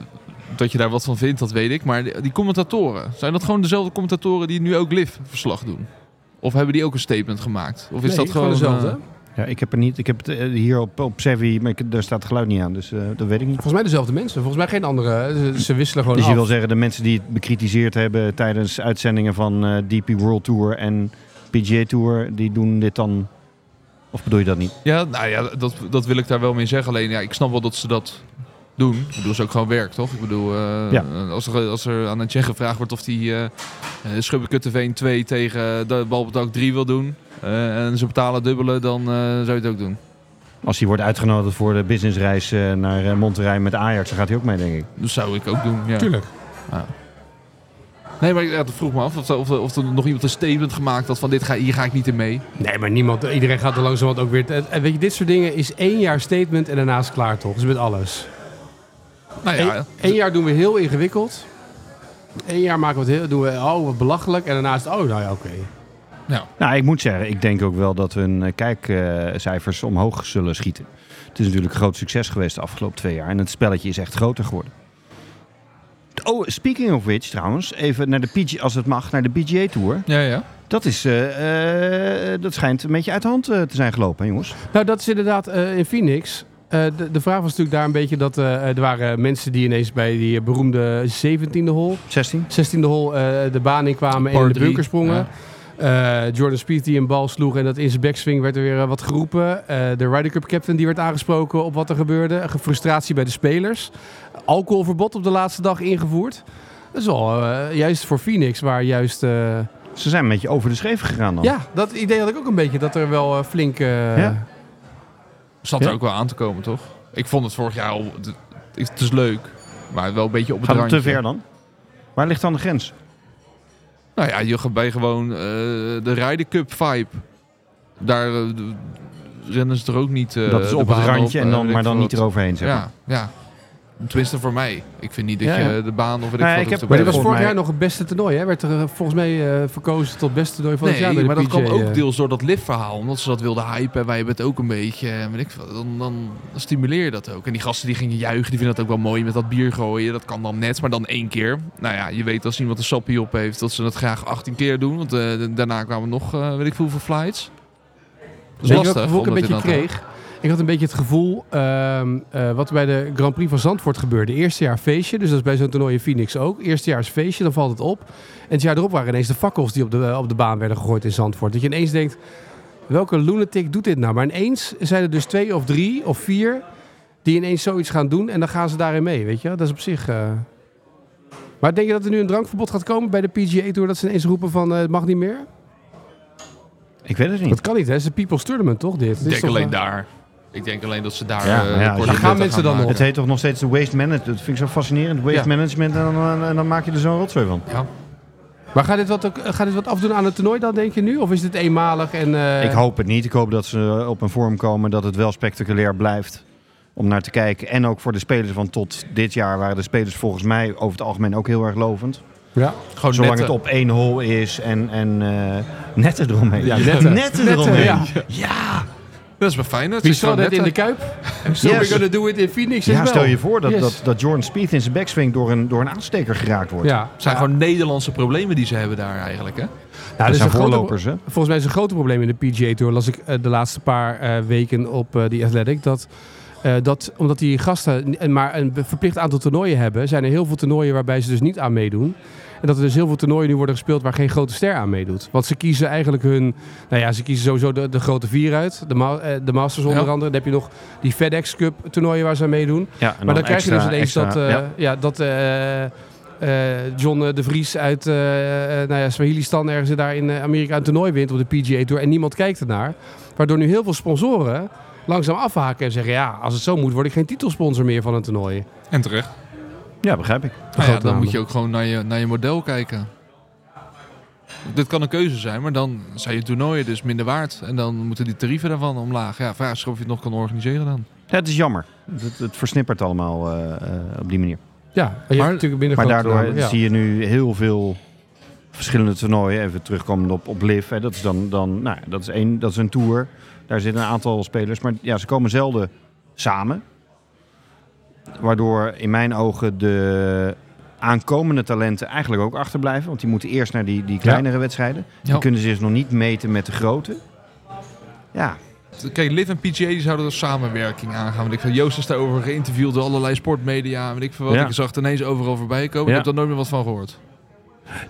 [SPEAKER 4] dat je daar wat van vindt, dat weet ik. Maar die die commentatoren, zijn dat gewoon dezelfde commentatoren die nu ook Liv verslag doen? Of hebben die ook een statement gemaakt? Of is
[SPEAKER 2] Nee,
[SPEAKER 4] dat gewoon...
[SPEAKER 2] dezelfde?
[SPEAKER 4] eh,
[SPEAKER 3] Ja, ik heb er niet. Ik heb het eh, hier op, op Sevi, maar ik, daar staat het geluid niet aan. Dus eh, dat weet ik niet.
[SPEAKER 2] Volgens mij dezelfde mensen. Volgens mij geen andere. Ze, ze wisselen gewoon
[SPEAKER 3] Dus je
[SPEAKER 2] af.
[SPEAKER 3] wil zeggen, de mensen die het bekritiseerd hebben tijdens uitzendingen van eh, DP World Tour en PGA Tour, die doen dit dan. Of bedoel je dat niet?
[SPEAKER 4] ja, nou ja, dat, dat wil ik daar wel mee zeggen. Alleen, ja, ik snap wel dat ze dat doen. Ik bedoel, is ook gewoon werk, toch? Ik bedoel, eh,
[SPEAKER 3] Ja.
[SPEAKER 4] als, er, als er aan een Tsjech gevraagd wordt of hij eh eh, Schubbekuttenveen 2 tegen de bal op het dak 3 wil doen. eh, en ze betalen dubbele, dan eh, zou je het ook doen.
[SPEAKER 3] Als hij wordt uitgenodigd voor de businessreis eh, naar eh, Monterrey met Ajax, dan gaat hij ook mee, denk ik.
[SPEAKER 4] Dat zou ik ook doen, ja.
[SPEAKER 2] Tuurlijk.
[SPEAKER 4] Nee, maar ik ja, dat vroeg me af of, of, of er nog iemand een statement gemaakt had van dit ga, hier ga ik niet in mee.
[SPEAKER 2] Nee, maar niemand, iedereen gaat er langzamerhand ook weer... te- en Weet je, dit soort dingen is één jaar statement en daarna is het klaar toch? Dus met alles.
[SPEAKER 4] Nou ja,
[SPEAKER 2] Eén één jaar doen we heel ingewikkeld. Eén jaar maken we het heel, doen we, oh, wat belachelijk. En daarna is het, oh, nou ja, oké.
[SPEAKER 3] Nou, ik moet zeggen, ik denk ook wel dat hun eh, kijkcijfers eh, omhoog zullen schieten. Het is natuurlijk een groot succes geweest de afgelopen twee jaar en het spelletje is echt groter geworden. Oh, speaking of which trouwens, even naar de PG, als het mag, naar de PGA Tour.
[SPEAKER 4] ja, ja.
[SPEAKER 3] Dat, is, eh, eh, dat schijnt een beetje uit de hand eh, te zijn gelopen, hè, jongens.
[SPEAKER 2] Nou, dat is inderdaad eh, in Phoenix. Eh, de, de vraag was natuurlijk daar een beetje dat eh, er waren mensen die ineens bij die eh, beroemde 17e hol,
[SPEAKER 3] 16?
[SPEAKER 2] 16e hol eh, de baan in kwamen en
[SPEAKER 4] Par
[SPEAKER 2] in de
[SPEAKER 4] drie,
[SPEAKER 2] bunker sprongen.
[SPEAKER 4] ja.
[SPEAKER 2] Eh, Jordan Speed die een bal sloeg en dat in zijn backswing werd er weer eh, wat geroepen. Eh, de Ryder Cup captain die werd aangesproken op wat er gebeurde. Eh, Frustratie bij de spelers. Alcoholverbod op de laatste dag ingevoerd. Dat is wel eh, juist voor Phoenix waar juist... eh,
[SPEAKER 3] Ze zijn een beetje over de schreef gegaan dan.
[SPEAKER 2] ja, dat idee had ik ook een beetje dat er wel eh, flink... eh,
[SPEAKER 3] Ja.
[SPEAKER 4] Zat
[SPEAKER 3] Ja.
[SPEAKER 4] er ook wel aan te komen, toch? Ik vond het vorig jaar al... het- Het is leuk, maar wel een beetje op het
[SPEAKER 3] Gaat het te
[SPEAKER 4] randje.
[SPEAKER 3] ver dan? Waar ligt dan de grens?
[SPEAKER 4] Nou ja, je gaat bij gewoon eh, de Ryder Cup vibe. Daar eh, d- rennen ze er ook niet. eh,
[SPEAKER 3] dat is
[SPEAKER 4] de
[SPEAKER 3] op het
[SPEAKER 4] baan
[SPEAKER 3] randje,
[SPEAKER 4] op,
[SPEAKER 3] en
[SPEAKER 4] eh,
[SPEAKER 3] dan,
[SPEAKER 4] weet
[SPEAKER 3] maar
[SPEAKER 4] ik
[SPEAKER 3] dan
[SPEAKER 4] veel
[SPEAKER 3] niet
[SPEAKER 4] wat.
[SPEAKER 3] eroverheen, zeg maar.
[SPEAKER 4] Ja, ja. Tenminste voor mij. Ik vind niet dat
[SPEAKER 3] Ja,
[SPEAKER 4] je
[SPEAKER 3] ja.
[SPEAKER 4] eh, de baan of weet ik
[SPEAKER 3] Nee,
[SPEAKER 4] veel
[SPEAKER 3] ik
[SPEAKER 4] hoeft
[SPEAKER 3] heb-
[SPEAKER 4] te
[SPEAKER 2] Maar dit was vorig
[SPEAKER 4] bellen.
[SPEAKER 3] volgens mij-
[SPEAKER 2] jaar nog het beste toernooi, hè? Werd er eh, volgens mij eh, verkozen tot beste toernooi van het jaar bij
[SPEAKER 4] Nee,
[SPEAKER 2] de
[SPEAKER 4] maar dat
[SPEAKER 2] PGA,
[SPEAKER 4] kwam ook
[SPEAKER 2] eh.
[SPEAKER 4] deels door dat LIV-verhaal. Omdat ze dat wilden hypen. Wij hebben het ook een beetje. eh, Weet ik veel, dan, dan stimuleer je dat ook. En die gasten die gingen juichen. Die vinden dat ook wel mooi met dat bier gooien. Dat kan dan net, maar dan één keer. Nou ja, je weet als iemand een sappie op heeft. Dat ze dat graag 18 keer doen. Want eh, daarna kwamen nog eh, weet ik veel hoeveel flights. Dat is
[SPEAKER 2] Weet je
[SPEAKER 4] lastig.
[SPEAKER 2] wat ik ook een
[SPEAKER 4] om dat
[SPEAKER 2] beetje
[SPEAKER 4] inderdaad-
[SPEAKER 2] kreeg? Ik had een beetje het gevoel, ehm, eh, wat bij de Grand Prix van Zandvoort gebeurde. Eerste jaar feestje, dus dat is bij zo'n toernooi in Phoenix ook. Eerste jaar is feestje, dan valt het op. En het jaar erop waren ineens de fakkels die op de, eh, op de baan werden gegooid in Zandvoort. Dat je ineens denkt, welke lunatic doet dit nou? Maar ineens zijn er dus twee of drie of vier die ineens zoiets gaan doen. En dan gaan ze daarin mee, weet je. Dat is op zich... eh. Maar denk je dat er nu een drankverbod gaat komen bij de PGA Tour? Dat ze ineens roepen van, eh, het mag niet meer?
[SPEAKER 3] Ik weet het niet.
[SPEAKER 2] Dat kan niet, hè? Het is een people's tournament, toch, dit? Dit is
[SPEAKER 4] Ik denk
[SPEAKER 2] toch,
[SPEAKER 4] alleen
[SPEAKER 2] eh,
[SPEAKER 4] daar. Ik denk alleen dat ze daar...
[SPEAKER 3] Ja,
[SPEAKER 4] eh,
[SPEAKER 3] maar ja, als
[SPEAKER 4] de korte
[SPEAKER 3] je-
[SPEAKER 4] metten
[SPEAKER 2] gaan mensen dan
[SPEAKER 4] maken.
[SPEAKER 2] nog?
[SPEAKER 3] Het heet toch nog steeds de waste management? Dat vind ik zo fascinerend. Waste
[SPEAKER 4] Ja.
[SPEAKER 3] management en dan, eh, en dan maak je er zo'n rotzooi van.
[SPEAKER 2] Maar gaat dit, wat ook, gaat dit wat afdoen aan het toernooi dan, denk je nu? Of is dit eenmalig? En, eh,
[SPEAKER 3] Ik hoop het niet. Ik hoop dat ze op een vorm komen dat het wel spectaculair blijft om naar te kijken. En ook voor de spelers, want tot dit jaar waren de spelers volgens mij over het algemeen ook heel erg lovend.
[SPEAKER 2] Ja.
[SPEAKER 4] Gewoon
[SPEAKER 3] Zolang
[SPEAKER 4] netten.
[SPEAKER 3] het op één hol is en, en eh, netten eromheen.
[SPEAKER 2] Ja, netten.
[SPEAKER 3] eromheen.
[SPEAKER 2] ja.
[SPEAKER 4] Dat is wel fijn.
[SPEAKER 2] Wie zal dat in de Kuip? So
[SPEAKER 3] eh? Yes.
[SPEAKER 2] we're gonna do it in Phoenix as
[SPEAKER 3] Ja,
[SPEAKER 2] well.
[SPEAKER 3] stel je voor dat,
[SPEAKER 2] Yes.
[SPEAKER 3] dat, dat Jordan Speed in zijn backswing door een, door een aansteker geraakt wordt.
[SPEAKER 2] Ja,
[SPEAKER 4] Het zijn
[SPEAKER 2] Ja.
[SPEAKER 4] gewoon Nederlandse problemen die ze hebben daar eigenlijk. Hè?
[SPEAKER 2] Nou,
[SPEAKER 3] dat
[SPEAKER 2] dit is
[SPEAKER 3] zijn
[SPEAKER 2] een grote-
[SPEAKER 3] voorlopers, hè?
[SPEAKER 2] Volgens mij is een grote probleem in de PGA Tour, las ik eh, de laatste paar eh, weken op eh The Athletic, dat, eh, dat omdat die gasten n- en maar een be- verplicht aantal toernooien hebben, zijn er heel veel toernooien waarbij ze dus niet aan meedoen. En dat er dus heel veel toernooien nu worden gespeeld waar geen grote ster aan meedoet. Want ze kiezen eigenlijk hun, nou ja, ze kiezen sowieso de, de grote vier uit, de, ma- eh, de Masters onder
[SPEAKER 4] Ja.
[SPEAKER 2] andere. Dan heb je nog die FedEx Cup toernooien waar ze aan meedoen.
[SPEAKER 3] Ja, en
[SPEAKER 2] Maar dan, krijg je dus
[SPEAKER 3] extra-
[SPEAKER 2] ineens
[SPEAKER 3] extra-
[SPEAKER 2] dat, eh,
[SPEAKER 3] ja.
[SPEAKER 2] ja. dat eh, eh, John eh, de Vries uit eh eh, nou ja, Swahilistan ergens daar in eh, Amerika een toernooi wint op de PGA Tour en niemand kijkt ernaar. Waardoor nu heel veel sponsoren langzaam afhaken en zeggen ja, als het zo moet word ik geen titelsponsor meer van een toernooi.
[SPEAKER 4] En terecht.
[SPEAKER 3] ja, begrijp ik.
[SPEAKER 4] Nou ja,
[SPEAKER 2] grote
[SPEAKER 4] dan
[SPEAKER 2] namen.
[SPEAKER 4] moet je ook gewoon naar je, naar je model kijken. Dit kan een keuze zijn, maar dan zijn je toernooien dus minder waard. En dan moeten die tarieven daarvan omlaag. Ja, vraag is of je het nog kan organiseren dan.
[SPEAKER 3] Ja, het is jammer. Het, het versnippert allemaal eh, eh, op die manier.
[SPEAKER 2] Ja, en je
[SPEAKER 4] Maar-
[SPEAKER 2] hebt natuurlijk minder
[SPEAKER 3] Maar
[SPEAKER 2] grote
[SPEAKER 3] daardoor
[SPEAKER 2] namen, ja.
[SPEAKER 3] zie je nu heel veel verschillende toernooien. Even terugkomend op, op Liv. Hè. Dat is dan, dan nou, ja, dat is één, dat is een tour. Daar zitten een aantal spelers. Maar ja, ze komen zelden samen. Waardoor in mijn ogen de aankomende talenten eigenlijk ook achterblijven. Want die moeten eerst naar die, die kleinere wedstrijden. Die
[SPEAKER 4] Ja.
[SPEAKER 3] kunnen ze dus nog niet meten met de grote. Ja,
[SPEAKER 4] Kijk, Liv en PGA die zouden er samenwerking aangaan. Want ik vind Joost is daarover geïnterviewd door allerlei sportmedia. en Weet ik veel wat.
[SPEAKER 3] Ja.
[SPEAKER 4] Ik zag het ineens overal voorbij komen.
[SPEAKER 3] Ja.
[SPEAKER 4] Ik heb daar nooit meer wat van gehoord.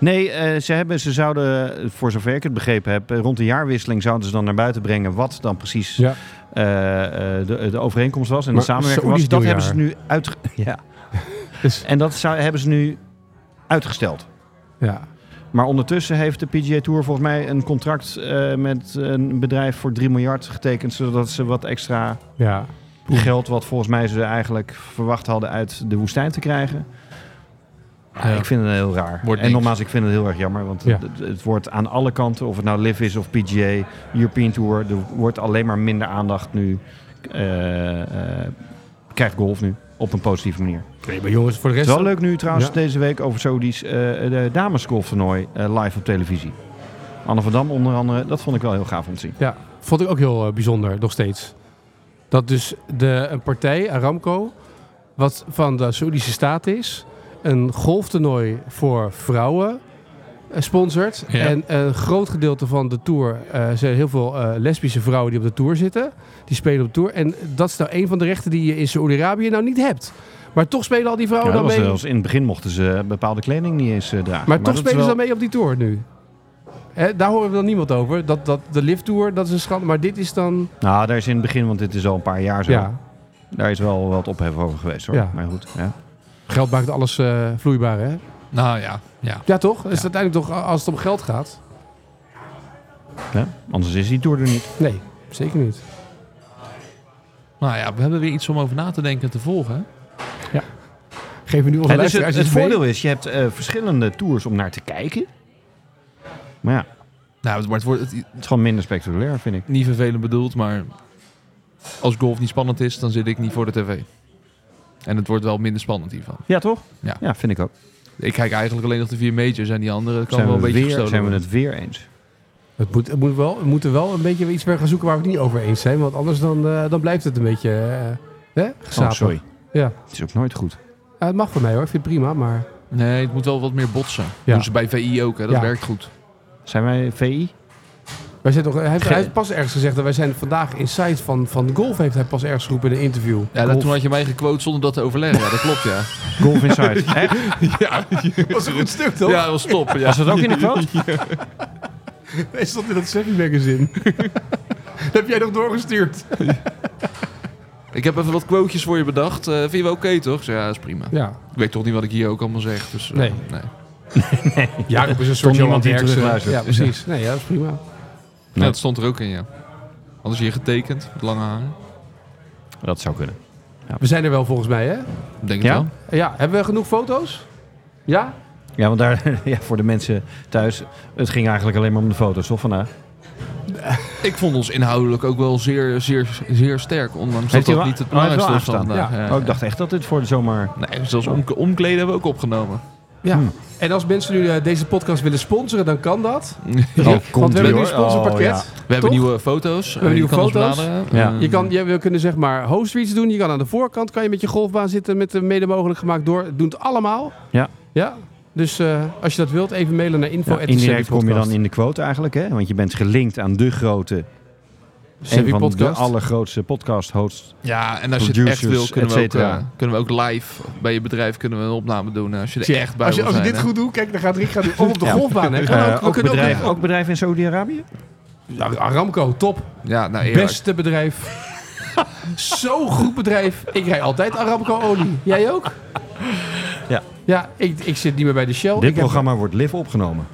[SPEAKER 3] Nee, eh, ze, hebben, ze zouden, eh, voor zover ik het begrepen heb, eh, rond de jaarwisseling zouden ze dan naar buiten brengen wat dan precies
[SPEAKER 2] Ja.
[SPEAKER 3] eh, eh, de, de overeenkomst was en
[SPEAKER 2] Maar
[SPEAKER 3] de samenwerking
[SPEAKER 2] Saoedisch
[SPEAKER 3] was. Dat hebben
[SPEAKER 2] nieuwjaar.
[SPEAKER 3] ze nu uitge- ja.
[SPEAKER 2] Dus-
[SPEAKER 3] En dat zou, hebben ze nu uitgesteld.
[SPEAKER 2] Ja.
[SPEAKER 3] Maar ondertussen heeft de PGA Tour volgens mij een contract eh, met een bedrijf voor 3 miljard getekend, zodat ze wat extra
[SPEAKER 2] Ja.
[SPEAKER 3] geld, wat volgens mij ze eigenlijk verwacht hadden uit de woestijn te krijgen. Ja,
[SPEAKER 4] Ja.
[SPEAKER 3] Ik vind het heel raar.
[SPEAKER 4] Wordt
[SPEAKER 3] en
[SPEAKER 4] niks.
[SPEAKER 3] nogmaals, ik vind het heel erg jammer. Want
[SPEAKER 2] Ja.
[SPEAKER 3] het, het wordt aan alle kanten, of het nou Live is of PGA, European Tour, er wordt alleen maar minder aandacht nu. eh, eh, krijgt golf nu. Op een positieve manier.
[SPEAKER 2] Nee, maar jongens, voor de
[SPEAKER 3] Het
[SPEAKER 2] rest...
[SPEAKER 3] is wel leuk nu trouwens
[SPEAKER 2] Ja.
[SPEAKER 3] deze week over Saoedi's eh de damesgolftoernooi eh, live op televisie. Anne van Dam onder andere. Dat vond ik wel heel gaaf om te zien.
[SPEAKER 5] Ja,
[SPEAKER 2] Vond ik ook heel eh, bijzonder, nog steeds. Dat dus de, een partij, Aramco, wat van de Saoedische staat is, een golftoernooi voor vrouwen eh, sponsort.
[SPEAKER 4] Ja.
[SPEAKER 2] En een groot gedeelte van de tour eh, zijn heel veel eh, lesbische vrouwen die op de tour zitten. Die spelen op de tour. En dat is nou een van de rechten die je in Saoedi-Arabië nou niet hebt. Maar toch spelen al die vrouwen
[SPEAKER 3] Ja, dat
[SPEAKER 2] Oh, dan
[SPEAKER 3] was
[SPEAKER 2] mee.
[SPEAKER 3] zelfs in het begin mochten ze eh, bepaalde kleding niet eens eh, dragen.
[SPEAKER 2] Maar, toch
[SPEAKER 3] dat is
[SPEAKER 2] spelen ze
[SPEAKER 3] wel-
[SPEAKER 2] dan mee op die tour nu. Hè, daar horen we dan niemand over. Dat, dat, de lift tour, dat is een schande. Maar dit is dan...
[SPEAKER 3] Nou, daar is in het begin, want dit is al een paar jaar zo.
[SPEAKER 2] Ja,
[SPEAKER 3] Daar is wel wat ophef over geweest hoor.
[SPEAKER 2] Ja.
[SPEAKER 3] Maar goed, ja.
[SPEAKER 2] Geld maakt alles eh, vloeibaar, hè?
[SPEAKER 4] Nou ja, ja.
[SPEAKER 2] Ja, toch? Is het uiteindelijk toch, als het om geld gaat?
[SPEAKER 3] Ja, Anders is die tour er niet.
[SPEAKER 2] Nee, zeker niet.
[SPEAKER 4] Nou ja, we hebben weer iets om over na te denken en te volgen. hè?
[SPEAKER 2] Geef me nu onze
[SPEAKER 3] En dus het
[SPEAKER 2] luisteraars
[SPEAKER 3] het
[SPEAKER 2] iets mee.
[SPEAKER 3] voordeel is, je hebt eh, verschillende tours om naar te kijken. Maar ja,
[SPEAKER 4] Nou, het- maar het wordt het,
[SPEAKER 3] het is gewoon minder spectaculair, vind ik.
[SPEAKER 4] niet vervelend bedoeld, maar als golf niet spannend is, dan zit ik niet voor de tv. En het wordt wel minder spannend hiervan.
[SPEAKER 3] Ja, toch?
[SPEAKER 4] Ja.
[SPEAKER 3] ja vind ik ook.
[SPEAKER 4] Ik kijk eigenlijk alleen nog de vier majors en die andere kan
[SPEAKER 3] Zijn
[SPEAKER 4] wel
[SPEAKER 3] we,
[SPEAKER 4] een beetje
[SPEAKER 3] weer,
[SPEAKER 4] gestolen
[SPEAKER 3] zijn we
[SPEAKER 4] worden.
[SPEAKER 3] het weer eens? Oh,
[SPEAKER 2] Het moet, het moet wel, we moeten wel een beetje iets weer gaan zoeken waar we het niet over eens zijn. Want anders dan, eh, dan blijft het een beetje eh, hè,
[SPEAKER 3] Oh,
[SPEAKER 2] gezapig.
[SPEAKER 3] sorry.
[SPEAKER 2] Ja.
[SPEAKER 3] Het is ook nooit goed.
[SPEAKER 2] Ja, het mag voor mij hoor, ik vind het prima. Maar
[SPEAKER 4] Nee, het moet wel wat meer botsen.
[SPEAKER 2] Ja.
[SPEAKER 4] Doen ze bij VI ook, hè? dat
[SPEAKER 2] Ja.
[SPEAKER 4] werkt goed.
[SPEAKER 3] Zijn wij VI?
[SPEAKER 2] wij zijn toch, hij, heeft,
[SPEAKER 4] Ge-
[SPEAKER 2] hij heeft pas ergens gezegd dat wij zijn vandaag in site van, van golf. Heeft hij pas ergens geroepen in een interview.
[SPEAKER 4] Ja, dat,
[SPEAKER 2] Golf.
[SPEAKER 4] toen had je mij gequote zonder dat te overleggen. Ja, dat klopt, ja.
[SPEAKER 3] Golf Inside. Echt?
[SPEAKER 4] ja,
[SPEAKER 2] was een goed stuk toch?
[SPEAKER 4] ja, dat was top. Ja.
[SPEAKER 3] Was dat ook in de quote?
[SPEAKER 2] Hij stond in dat Savvy magazine. dat heb jij nog doorgestuurd.
[SPEAKER 4] Ik heb even wat quotejes voor je bedacht. Eh, vind je wel oké, toch? Ik zei, ja, dat is prima.
[SPEAKER 2] Ja,
[SPEAKER 4] Ik weet toch niet wat ik hier ook allemaal zeg. Dus, eh,
[SPEAKER 2] Nee.
[SPEAKER 4] nee.
[SPEAKER 2] Jacob is een
[SPEAKER 3] Toch
[SPEAKER 2] soort
[SPEAKER 3] niemand
[SPEAKER 2] Johan
[SPEAKER 3] die
[SPEAKER 2] Derksen.
[SPEAKER 3] terugluistert.
[SPEAKER 2] Ja, precies. Nee, ja, dat is prima.
[SPEAKER 4] Ja,
[SPEAKER 3] Nee.
[SPEAKER 4] dat stond er ook in, ja. Anders je getekend, met lange haren.
[SPEAKER 3] Dat zou kunnen.
[SPEAKER 2] We zijn er wel volgens mij, hè?
[SPEAKER 4] Ik Denk het
[SPEAKER 3] Ja?
[SPEAKER 4] wel.
[SPEAKER 2] Ja, hebben we genoeg foto's? Ja?
[SPEAKER 3] Ja, want daar, ja, voor de mensen thuis, het ging eigenlijk alleen maar om de foto's, toch vandaag?
[SPEAKER 4] Ik vond ons inhoudelijk ook wel zeer, zeer, zeer sterk. Ondanks
[SPEAKER 3] Heeft
[SPEAKER 4] dat
[SPEAKER 3] hij
[SPEAKER 4] dat
[SPEAKER 3] wel-
[SPEAKER 4] niet het
[SPEAKER 3] oh, hij heeft wel
[SPEAKER 4] belangrijkste was van
[SPEAKER 2] aangestaan.
[SPEAKER 4] vandaag. Ja,
[SPEAKER 3] Oh, ik dacht echt dat dit voor de zomer...
[SPEAKER 4] Nee, zelfs omk- omkleden hebben we ook opgenomen.
[SPEAKER 2] Ja.
[SPEAKER 3] Hmm.
[SPEAKER 2] Hm. En als mensen nu eh, deze podcast willen sponsoren, dan kan dat.
[SPEAKER 4] Ja.
[SPEAKER 3] Oh,
[SPEAKER 2] Want
[SPEAKER 3] komt
[SPEAKER 2] we hebben
[SPEAKER 3] ie,
[SPEAKER 2] nu een
[SPEAKER 3] hoor. Oh,
[SPEAKER 2] sponsorpakket.
[SPEAKER 3] ja.
[SPEAKER 4] We hebben
[SPEAKER 2] Toch?
[SPEAKER 4] nieuwe foto's. eh, je
[SPEAKER 2] nieuwe
[SPEAKER 4] kan ons
[SPEAKER 2] foto's.
[SPEAKER 4] benaderen.
[SPEAKER 3] Ja.
[SPEAKER 4] Eh,
[SPEAKER 2] Je kan, je, we kunnen zeg maar host-reads doen. Je kan aan de voorkant kan je met je golfbaan zitten met de mede mogelijk gemaakt door. Het doet allemaal.
[SPEAKER 3] Ja.
[SPEAKER 2] Ja. Dus eh, als je dat wilt, even mailen naar info.
[SPEAKER 3] Ja, indirect kom je dan in de quote eigenlijk, hè? Want je bent gelinkt aan de grote, een van de allergrootste podcast hosts.
[SPEAKER 4] ja, en als je het echt
[SPEAKER 3] Producers,
[SPEAKER 4] wil, kunnen we,
[SPEAKER 3] et
[SPEAKER 4] ook,
[SPEAKER 3] cetera.
[SPEAKER 4] eh, kunnen we ook live bij je bedrijf kunnen we een opname doen. eh, Als je er echt bij
[SPEAKER 2] als je,
[SPEAKER 4] wil
[SPEAKER 2] als je
[SPEAKER 4] zijn,
[SPEAKER 2] dit
[SPEAKER 4] hè.
[SPEAKER 2] goed doet, kijk, dan gaat Rick gaat nu om op de
[SPEAKER 3] Ja.
[SPEAKER 2] golfbaan. Hè. Kan
[SPEAKER 3] Eh,
[SPEAKER 2] ook. we
[SPEAKER 3] ook,
[SPEAKER 2] kunnen
[SPEAKER 3] bedrijf,
[SPEAKER 2] ook...
[SPEAKER 3] ook bedrijf in Saudi-Arabië?
[SPEAKER 2] Ja, Nou, Aramco, top.
[SPEAKER 4] Ja, nou eerlijk.
[SPEAKER 2] Beste bedrijf. Zo goed bedrijf. Ik rij altijd Aramco olie. Jij ook?
[SPEAKER 3] Ja.
[SPEAKER 2] Ja, ik, ik zit niet meer bij de Shell.
[SPEAKER 3] Dit
[SPEAKER 2] ik heb-
[SPEAKER 3] programma wordt live opgenomen.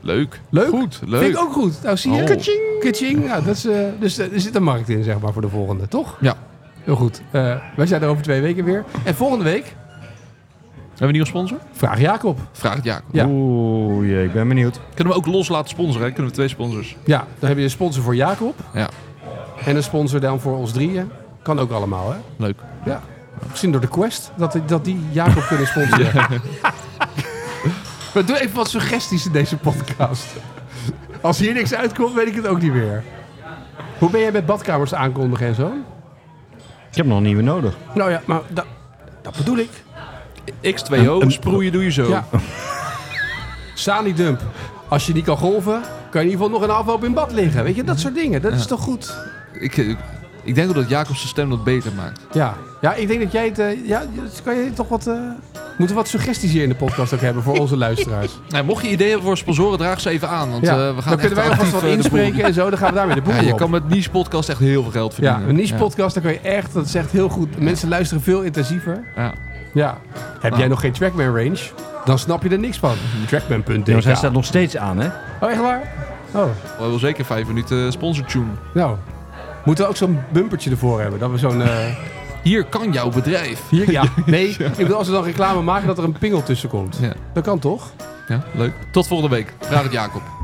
[SPEAKER 4] Leuk.
[SPEAKER 2] Leuk.
[SPEAKER 4] Goed, leuk.
[SPEAKER 2] Vind ik ook goed. Nou, zie je.
[SPEAKER 4] Oh.
[SPEAKER 2] Kaching. Kaching. Ja, dat is, eh, dus eh, er zit een markt in, zeg maar, voor de volgende, toch?
[SPEAKER 4] Ja.
[SPEAKER 2] Heel goed. Eh, wij zijn er over twee weken weer. En volgende week,
[SPEAKER 4] Hebben we een nieuwe sponsor?
[SPEAKER 2] vraag Jacob.
[SPEAKER 4] Vraag het Jacob.
[SPEAKER 2] Ja.
[SPEAKER 3] Oeh, jee, ik ben benieuwd.
[SPEAKER 4] Kunnen we ook los laten sponsoren? Hè? Kunnen we twee sponsors?
[SPEAKER 2] Ja, dan heb je een sponsor voor Jacob.
[SPEAKER 4] Ja.
[SPEAKER 2] En een sponsor dan voor ons drieën. Kan ook allemaal, hè?
[SPEAKER 4] Leuk.
[SPEAKER 2] Ja. Misschien door de Quest, dat, dat die Jacob kunnen sponsoren. We doen even wat suggesties in deze podcast. Als hier niks uitkomt, weet ik het ook niet meer. Hoe ben jij met badkamers aankondigen en zo?
[SPEAKER 3] Ik heb nog een nieuwe nodig.
[SPEAKER 2] Nou ja, maar da- dat bedoel ik.
[SPEAKER 4] X2O, sproeien doe je zo.
[SPEAKER 2] Ja. Sani dump. Als je niet kan golven, kan je in ieder geval nog een afloop in bad liggen. Weet je, dat soort dingen. Dat is toch goed?
[SPEAKER 4] Ik, ik, ik denk ook dat Jacobs zijn stem dat beter maakt.
[SPEAKER 2] Ja. Ja, ik denk dat jij het... eh, ja, dus kan je toch wat... eh, Moeten we wat suggesties hier in de podcast ook hebben voor onze luisteraars?
[SPEAKER 4] Nou, mocht je ideeën hebben voor sponsoren, draag ze even aan. Want
[SPEAKER 2] Ja,
[SPEAKER 4] eh, we gaan
[SPEAKER 2] Dan kunnen wij
[SPEAKER 4] echt
[SPEAKER 2] alvast
[SPEAKER 4] actief,
[SPEAKER 2] wat
[SPEAKER 4] eh, de boel-
[SPEAKER 2] inspreken en zo. Dan gaan we daarmee de boel
[SPEAKER 4] Ja, je
[SPEAKER 2] op.
[SPEAKER 4] kan met Niche Podcast echt heel veel geld
[SPEAKER 2] Ja,
[SPEAKER 4] verdienen.
[SPEAKER 2] een niche podcast, daar kan je echt, dat is echt heel goed. Mensen luisteren veel intensiever.
[SPEAKER 4] Ja.
[SPEAKER 2] Ja. Heb jij nog geen Trackman range? Dan snap je er niks van. Trackman.dk.
[SPEAKER 3] Jongens, hij staat nog steeds aan, hè?
[SPEAKER 2] Oh, echt waar? Oh,
[SPEAKER 4] We hebben zeker vijf minuten eh, sponsortune.
[SPEAKER 2] nou. Moeten we ook zo'n bumpertje ervoor hebben? Dat we zo'n... eh,
[SPEAKER 4] Hier kan jouw bedrijf.
[SPEAKER 2] hier, ja. Nee, ik bedoel, als we dan reclame maken dat er een pingel tussen komt.
[SPEAKER 4] Ja.
[SPEAKER 2] Dat kan toch?
[SPEAKER 4] Ja, leuk. Tot volgende week. Vraag het Jacob.